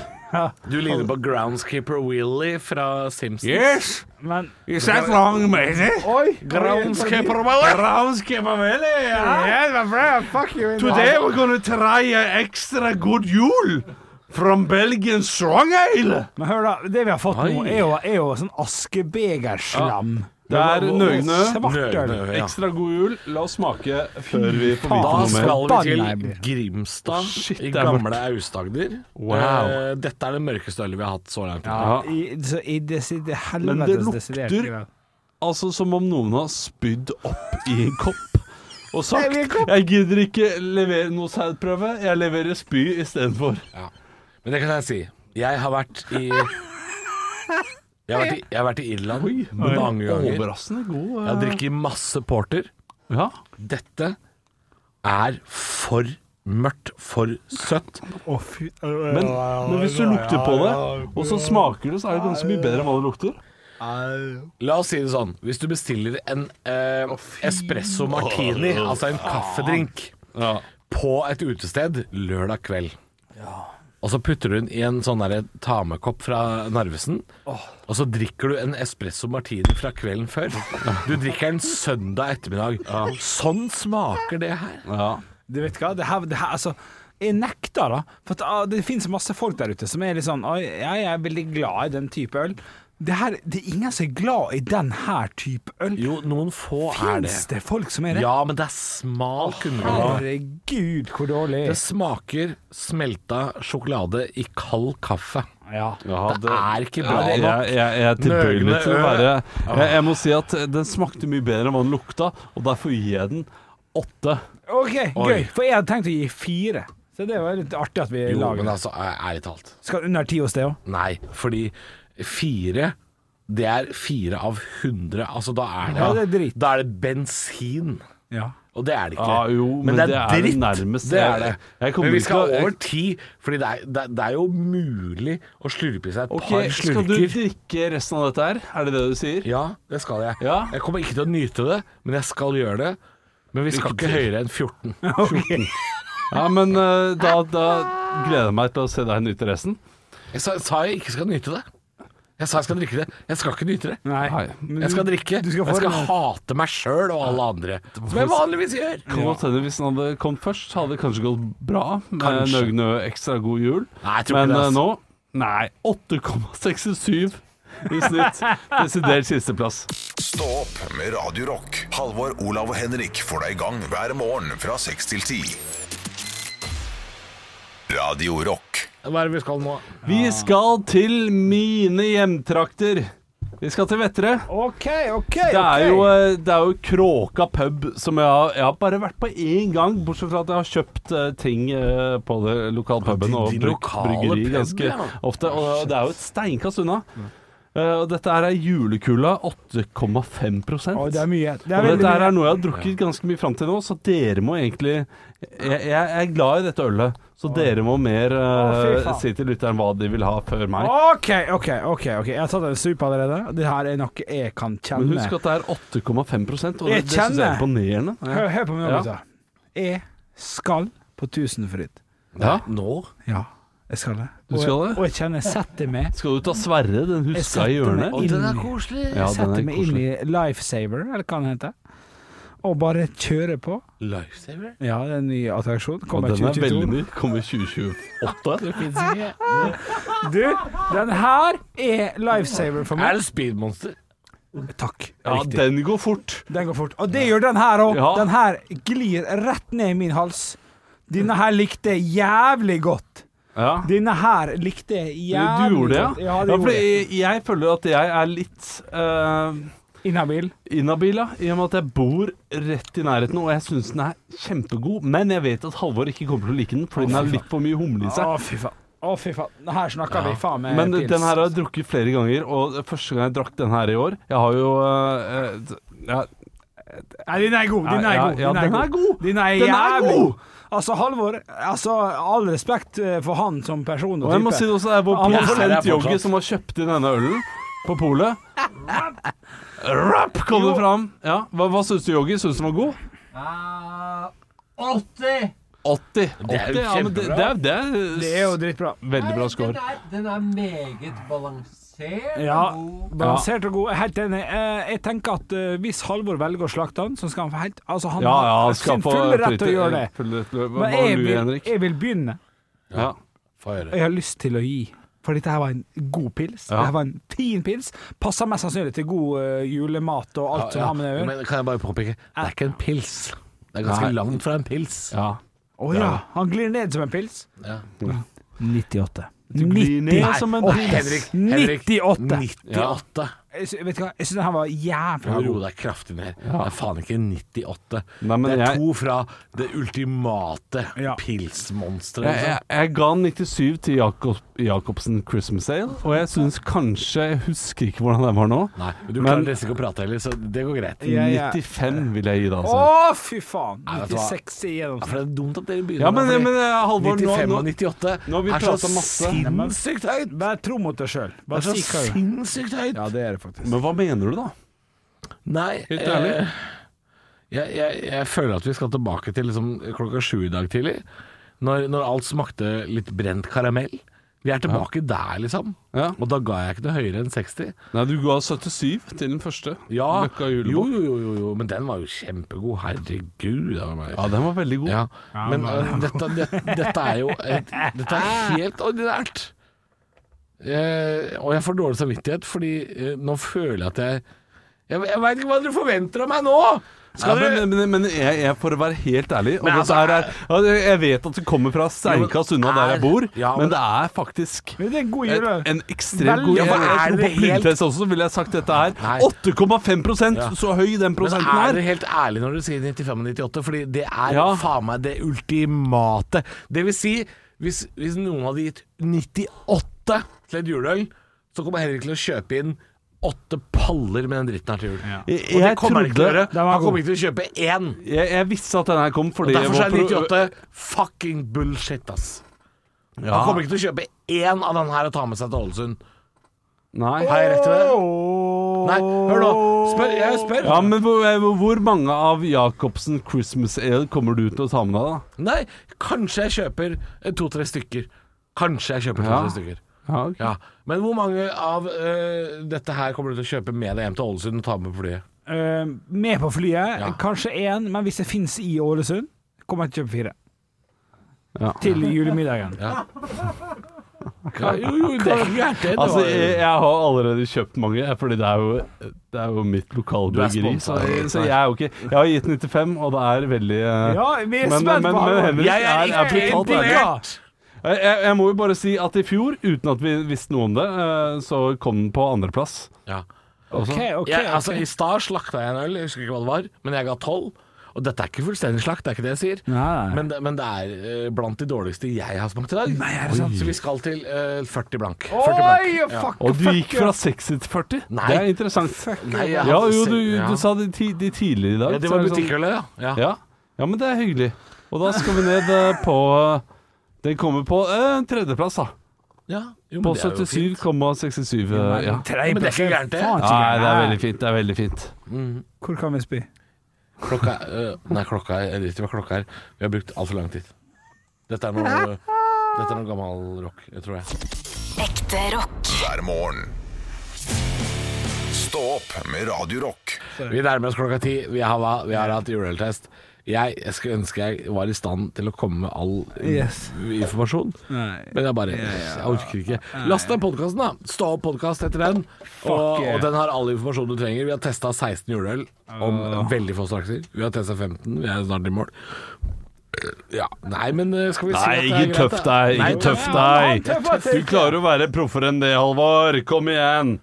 Du ligner på groundskeeper Willy fra Simpsons. Yes! Men Is that wrong, matey? Oi! Groundskeeper Willy! Groundskeeper Willy, Yeah, my friend, fuck you in the- Today we're gonna try an extra good jul from Belgian strong ale. Men hør, da. Det vi har fått nå, Oi. er jo, er jo sånn askebegerslam. Det er nøgne. Svartøl. Nøgne, ja. Ekstra god jul. La oss smake før vi får faen. vite Da noe mer. skal vi til Banneheim. Grimstad Shit, i det er gamle Aust-Agder. Wow. Eh, Dette er det mørkeste ølet vi har hatt så langt. Ja. I, så i desider, helvetes Men det lukter- desidert, skriver jeg. Altså som om noen har spydd opp i en kopp og sagt 'Jeg gidder ikke levere noe sædprøve, jeg leverer spy istedenfor'. Men det kan jeg si. Jeg har vært i Jeg har vært i, jeg har vært i Irland mange ganger. Overraskende god. Jeg har drukket masse porter. eh, Ja. Dette er for mørkt, for søtt. Å, fy Men, men hvis du lukter på det, og så smaker det, så er det ganske mye bedre enn hva det lukter. La oss si det sånn. Hvis du bestiller en eh, espresso martini, altså en kaffedrink, Ja. på et utested lørdag kveld. Og så putter du den i en sånn derre ta-med-kopp fra Narvesen. Og så drikker du en espresso martini fra kvelden før. Du drikker den søndag ettermiddag. Sånn smaker det her. ja. Du vet hva, det her, det her altså jeg nekter, da. For at, ah, det finnes masse folk der ute som er litt sånn «Oi, Jeg er veldig glad i den type øl. Det, her, det er ingen som er glad i den her type øl. Jo, noen få er Fins det. det folk som er det? Ja, men det er smal undergrunn. Herregud, hvor dårlig. Det smaker smelta sjokolade i kald kaffe. Ja. Ja, Det er ikke bra jeg, nok. jeg, jeg er tilbøyelig Nøgne til å ø. være jeg, jeg må si at den smakte mye bedre enn hva den lukta, og derfor gir jeg den åtte. OK, Oi. gøy. For jeg hadde tenkt å gi fire. Så det var litt artig at vi Jo, lager men det. altså, ærlig talt. Skal under ti hos deg òg? Nei, fordi fire Det er fire av hundre Altså da er det, Ja, det er dritt. Da er det bensin Ja. Og det er det ikke Ja, jo, men det er det nærmeste. Det er det Jeg kommer Men vi ikke skal til å- over ti Fordi det er, det, det er jo mulig Å slurpe i seg et Ok, par Skal du slurker drikke resten av dette her? Er det det du sier? Ja, det skal jeg Ja. Jeg kommer ikke til å nyte det Men jeg skal gjøre det Men vi skal Lykke ikke høyere enn 14 Ja, men eh, da, da gleder jeg meg til å se deg nyte resten. Jeg sa, sa jeg ikke skal nyte det Jeg sa jeg skal drikke det Jeg skal ikke nyte det Nei. Nei. Men Jeg skal du- drikke, du og jeg skal få- hate meg sjøl og alle andre. Som jeg vanligvis gjør. Kan godt hende Hvis den hadde kommet først, så hadde det kanskje gått bra. Med Kanskje. Nøgnø ekstra god jul. Nei, jeg tror ikke Men det, eh, ass. nå Nei. 8,67 i snitt. Desidert sisteplass. Stå opp med Radio Rock. Halvor, Olav og Henrik får deg i gang hver morgen fra 6 til 10. Radio Rock. Hva er det vi skal nå? Vi skal til mine hjemtrakter. Vi skal til Vettre. OK, OK. Det er ok. jo, eh, det er jo Kråka pub som jeg har, jeg har bare vært på én gang, bortsett fra at jeg har kjøpt eh, ting eh, på det lokalpuben Ja, og din- din brukt lokale bryggeri pub, ganske ja. Mm. ofte. Og det er jo et steinkast unna. Eh, Og dette her er julekula 8,5 Oi, det er mye. Det er og veldig dette her mye. er noe jeg har drukket ganske mye fram til nå, så dere må egentlig Jeg, jeg er glad i dette ølet, så dere må mer Å, fy eh, faen. si til lytteren hva de vil ha før meg. OK, OK, ok, ok Jeg har tatt en sup allerede. Det her er noe jeg kan Men kjenne. husk at det er 8,5 og det, Jeg det syns jeg kjenner. er imponerende. Hør, hør på meg nå, Ja. gutta. Jeg skal på Tusenfryd. Ja. Nå? Ja, jeg skal det. Du skal det? Og, og jeg kjenner jeg setter meg Skal du ta Sverre, den Jeg huska setter i hjørnet? meg inn, koselig. Ja, jeg den setter er meg inn i Lifesaver, eller hva den heter, og bare kjører på. Lifesaver? Ja, det er en ny attraksjon. Og Kommer den er veldig 2022. ny. Kommer 2028. Du, den her er Lifesaver for Er meg. det Speedmonster? Takk. Ja, Riktig. den går fort. Den går fort. Og det gjør den her òg. Ja. Den her glir rett ned i min hals. Denne her likte jeg jævlig godt. Ja. Denne her likte jeg Du, jævlig du gjorde det, godt. ja? Ja, ja det gjorde fordi jeg. jeg, jeg føler at jeg er litt eh, Inhabil. inhabil, ja, i og med at jeg bor rett i nærheten, og jeg syns den er kjempegod. Men jeg vet at Halvor ikke kommer til å like den, fordi den har litt for mye humle i Å, seg. fy faen. Å, fy faen. Her snakker vi faen meg Men pils. den her har jeg drukket flere ganger, og første gang jeg drakk den her i år Jeg har jo eh, eh, ja, Nei, din er god. Din er Ja, god. ja, den er god. Din er Den er jævlig god. Altså, Halvor, altså, all respekt eh, for han som person og Og type. jeg må si det også, det er vår Ja, men- produsent Jogge som har kjøpt inn denne ølen på polet. Rapp kom det fram. Ja, Hva, hva syns du, Jogge? Syns du den var god? Ah, 80! 80. 80 Det er jo ja, men det, det, er, kjempebra. det, er, Det er jo dritbra. veldig bra score. Den er, den er meget balansert. Ja, og god. balansert og god. Jeg er Helt enig. Eh, Jeg tenker at eh, hvis Halvor velger å slakte han, så skal han få helt Altså, han Ja, ja, har han skal sin få fulle rett til flytte- å gjøre det. full rett til å- Hva Men hva jeg lurer, vil, Henrik? jeg vil begynne. Ja. Få høre. Jeg har lyst til å gi. For dette her var en god pils. Ja. Dette var en fin pils. Passer mest sannsynlig til god eh, julemat og alt som Ja, har med det å ja, gjøre. men kan jeg bare påpeke, det er ikke en pils. Det er ganske Nei. langt fra en pils. ja. Å ja, han glir ned som en pils. Ja. 98. glir ned 98. som en Åh, pils. Henrik, Henrik. 98. 98. Jeg sy- Vet du hva, jeg syns den her var jævla Ro god. deg kraftig ned. Det er faen ikke 98. Nei, men det er jeg- to fra det ultimate Ja. pilsmonsteret. Jeg, jeg, liksom. jeg ga den 97 til Jakob, Jacobsen Christmas Ale, og jeg syns kanskje Jeg husker ikke hvordan den var nå. liksom. Nei, men du Men- klarer nesten ikke å prate heller, så det går greit. Ja, ja. 95 vil jeg gi det, Å, altså. fy faen! Nei, vet du hva? 96 i Ja, gjennomsnitt. for det er dumt at dere begynner Ja, men, nå, fordi men Halvor, nå, 95 nå, og 98 nå har vi er så pratet masse. sinnssykt høyt! Bare tro mot deg sjøl. Det er Bare så si hva du sinnssykt høyt! Ja, det er det faktisk. Men hva mener du, da? Nei Helt eh, ærlig. jeg, jeg, jeg føler at vi skal tilbake til liksom klokka sju i dag tidlig, når, når alt smakte litt brent karamell. Vi er tilbake der, liksom. Ja. Og da ga jeg ikke noe høyere enn 60. Nei, du ga 77 til den første. Ja, Løkka jo, julebord. jo, jo, jo, men den var jo kjempegod. Herregud. det var meg. Ja, den var veldig god. Ja, men eh, dette, det, dette er jo et, Dette er helt ordinært. Eh, og jeg får dårlig samvittighet, fordi eh, nå føler jeg at jeg Jeg, jeg veit ikke hva dere forventer av meg nå! eh, Ja, Skal dere men, men, men jeg, jeg, for å være helt ærlig og Men dette altså, her er, ja, Jeg vet at det kommer fra steinkast unna der jeg bor, Ja, men- men det er faktisk Men det er en god en, jule. en ekstremt god Ja, men er jeg tror det På blindtest også ville jeg sagt dette Nei. her. 8,5 Ja. Så høy den Men prosenten er her. dere helt ærlige når dere sier 95 og 98? Fordi det er Ja. faen meg det ultimate. Det vil si, hvis, hvis noen hadde gitt 98 til et juleøl, så kommer Henrik til å kjøpe inn åtte paller med den dritten her til jul. Jeg, Og det jeg kommer han ikke til å gjøre. trodde var Han god. kommer ikke til å kjøpe én. jeg, jeg visste at den her kom fordi Derfor så er vår pro- 98 fucking bullshit, ass. Ja. Han kommer ikke til å kjøpe én av den her og ta med seg til Ålesund. Nei. Har jeg rett i det? Nei, hør nå. Spør, jeg spør. Ja, men hvor, eh, hvor mange av Jacobsen Christmas Ale kommer du til å ta med deg, da? Nei, kanskje jeg kjøper eh, to-tre stykker. Kanskje jeg kjøper Ja. to-tre stykker. Ja, ok. Ja, Men hvor mange av eh, dette her kommer du til å kjøpe med deg hjem til Ålesund og ta med på flyet? Eh, med på flyet, Ja. kanskje én, men hvis det fins i Ålesund, kommer jeg til å kjøpe fire. Ja. Til julemiddagen. jo, jo, det er ikke gærent, det. Altså, var- jeg, jeg har allerede kjøpt mange, jeg, fordi det er jo, det er jo mitt Du er lokalbryggeri. Så, sponset. eh, så jeg er jo ikke Jeg har gitt 95, og det er veldig eh, Ja, vi er Men- spent men- på men- Halvor. men- jeg er jeg er ikke brutalt ærlig. imponert! jeg, jeg, jeg må jo bare si at i fjor, uten at vi visste noe om det, eh, så kom den på andreplass. Ja. OK, OK. Jeg, altså, ok. I stad slakta jeg en øl, jeg husker ikke hva det var, men jeg ga tolv. Og dette er ikke fullstendig slakt, det er ikke det jeg sier. Nei, nei. Men, det- men det er eh, blant de dårligste jeg har smakt i dag. Så vi skal til eh, 40 blank. 40 blank. Oi, fuck, Og du fuck, gikk fra 60 til 40. Nei. Det er interessant. Nei, jeg Ja, hadde jo, se- du, ja. du sa det ti, de tidligere i dag. ja, Det så er var sånn- butikkølet, ja. ja. Ja. ja, men det er hyggelig. Og da skal vi ned eh, på eh, Den kommer på eh, tredjeplass, da. ja. Jo, men På det er jo fint. 77,67. eh, Ja. Men det er ikke gærent, det. Faen, ikke Nei, det er gærent. veldig fint. Det er veldig fint. Hvor kan vi spy? Klokka er øh, Nei, klokka er Jeg driter i hva klokka er. Vi har brukt altfor lang tid. Dette er noe Dette er noe gammel rock, jeg tror jeg. Ekte rock. hver morgen. Stå opp med Radio Rock. Vi nærmer oss klokka ti. Vi har, hva- vi har hatt juleøltest. Jeg, jeg skulle ønske jeg var i stand til å komme med all Yes. informasjon, men jeg bare Jeg orker ikke. Last ned podkasten, da. Stå opp podkast etter den. Og, yeah. og den har all informasjon du trenger. Vi har testa 16 juleøl om veldig få strakser. Vi har testa 15, vi er snart i mål. Eh, Ja, nei, men øh, skal vi si Nei, at det er ikke greit, tøff da? deg. Nei, Ikke tøff Nei, deg. Du klarer å være proffere enn det, Halvor. Kom igjen.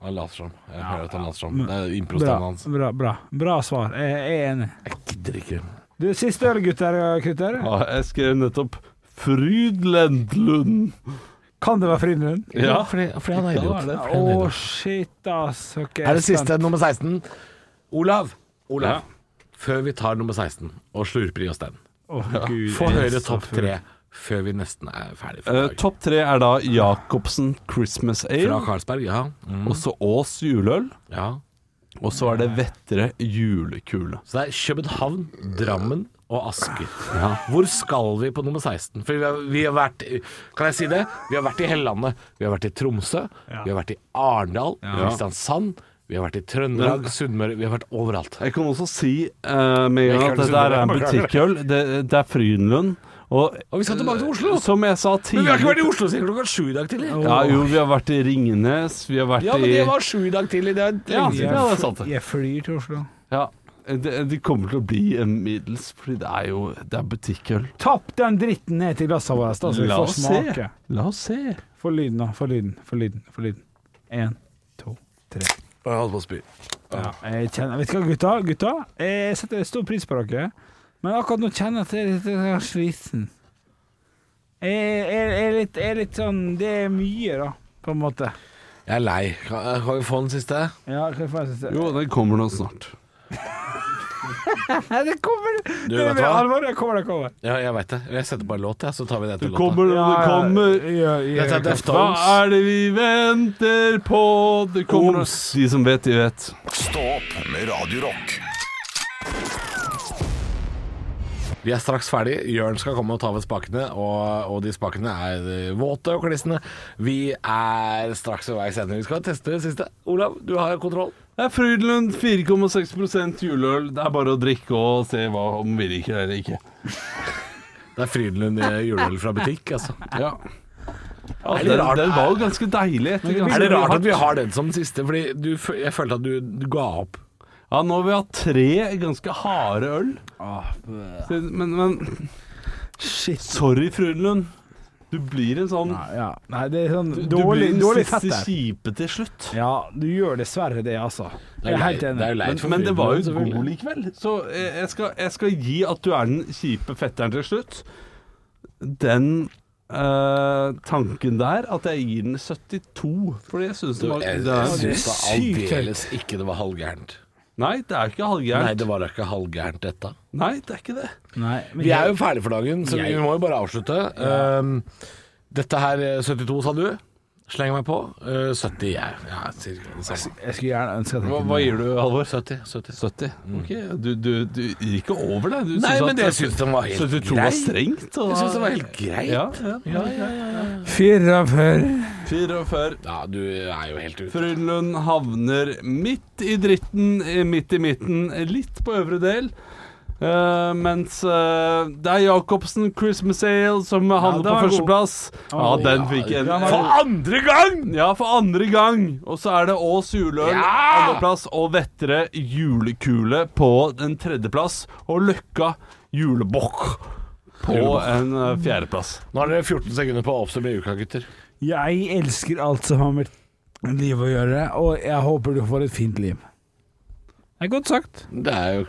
Han later som. Jeg hører at han later som. Det er Bra, improstemmen hans. bra, bra. Bra svar. Jeg er enig. Jeg gidder ikke. Du, siste øl, gutter og kutter. Ja, jeg skrev nettopp Frydlendlund. Kan det være Frydenlund? Ja, fordi, fordi han er idiot. Å, Fordi han er idiot. shit, ass. Ok, Er det spent. siste nummer 16? Olav, Olav før vi tar nummer 16 og slurper i oss den, Å, Gud, få jeg er høre så topp full. tre før vi nesten er ferdig for i Eh, dag. topp tre er da Jacobsen Christmas Fra Ale, Carlsberg, ja. Mm, og så Aas juleøl, ja. og så er det Vettre julekule. Så det er København, Drammen og Asker. Hvor skal vi på nummer 16? For vi har, vi har vært Kan jeg si det? Vi har vært i hele landet. Vi har vært i Tromsø, vi har vært i Arendal, Kristiansand, vi har vært i Trøndelag, Sunnmøre Vi har vært overalt. Jeg kan også si eh, med en gang at Jeg det kan der er en butikkøl. Det, det er Frydenlund. Og, eh, Og vi skal tilbake til Oslo! Som jeg sa Men vi har ikke vært tidligere i Oslo siden klokka sju i dag tidlig. ja, Jo, vi har vært i Ringenes, vi har vært Ja, men det i var sju i dag tidlig. Det er lenge ja, ja, siden. det er sant. det. Jeg flyr til Oslo. Ja. Eh, Det, det kommer til å bli en middels, fordi det er jo det er butikkøl. Tapp den dritten ned til glassene våre, da, så vi La får oss se. smake. La oss se. Få lyden, da. Få lyden, få lyden. få lyden. En, to, tre. Jeg holdt på å spy. Ja, jeg kjenner, vet du hva, gutta? gutta? Jeg setter stor pris på dere, men akkurat nå kjenner jeg at jeg er litt jeg er sliten. Jeg, jeg, jeg, er litt, jeg er litt sånn Det er mye, da, på en måte. Jeg er lei. Kan kan vi få den siste? Ja, hva faen synes jeg? Jo, den kommer nå snart. Nei, det kommer! Du, det vet du er hva? alvor, det kommer, det kommer. Ja, jeg veit det. Jeg setter på en låt, jeg, så tar vi det Det til låta. kommer når det kommer. Ja, ja, Dette er ja. Deftones. Hva er det vi venter på? Det kommer Oms. De som vet, de vet. Stå opp med Radio Rock. Vi er straks ferdig. Jørn skal komme og ta ved spakene, og, og de spakene er eh, våte og klissende. Vi er straks ved veis ende. Vi skal teste det siste. Olav, du har kontroll. Det er Frydenlund 4,6 juleøl. Det er bare å drikke og se hva, om vi liker det eller ikke. Det er Frydenlund eh, juleøl fra butikk, altså. Ja. Er det den, rart- den var jo ganske deilig. Etter ganske Er det rart at vi har den som siste? Fordi du, f- jeg følte at du, du ga opp. Ja, nå har vi hatt tre ganske harde øl. Så- Men, men Ah, Shit. Sorry, Frydenlund. Du blir en sånn Ja, ja. Nei, det er sånn du- dårlig, du blir dårlig den fett siste der. kjipe til slutt. Ja, du gjør dessverre det, altså. Det Jeg er jo helt lei- det er enig. jo leit Men, for men det var jo Frydenlund, god selvfølgelig. likevel. Så jeg, jeg, skal, jeg skal gi at du er den kjipe fetteren til slutt. Den eh, tanken der, at jeg gir den 72, fordi jeg syns Du, det var Jeg, det jeg er, syns da sykt høyt. aldeles ikke det var halvgærent. Nei, det er ikke Nei, halvgærent. det var da ikke halvgærent, dette. Nei, det er ikke det. Nei, men Vi er jeg- jo ferdig for dagen, så vi må jo bare avslutte. Um, dette her eh, 72, sa du? Slenger meg på. Uh, 70, jeg. Ja, cirka det samme. Jeg skulle gjerne ønske at jeg Hva, kunne- hva gir du, Halvor? 70. 70. 70? Ok, du, du, du gikk ikke over deg. Du Nei, syntes men at det- jeg syns den var helt 72 grei. var strengt. og- Jeg syns det var helt greit. Ja, ja. 44. 44. Ja, du er jo helt ute. Frølund havner midt i dritten, eh, midt i midten, litt på øvre del. Eh, mens eh, det er Jacobsen, Christmas Ale, som havner den på var førsteplass. Ja, Å, den fikk en For andre gang! Ja, for andre gang! Og så er det Ås juleøl Ja! andreplass og Vettre julekule på en tredjeplass. Og Løkka julebukk på en eh, fjerdeplass. Nå har dere 14 sekunder på å oppsummere uka, gutter. Jeg elsker alt som har med livet å gjøre, og jeg håper du får et fint liv. Det er godt sagt. Det er jo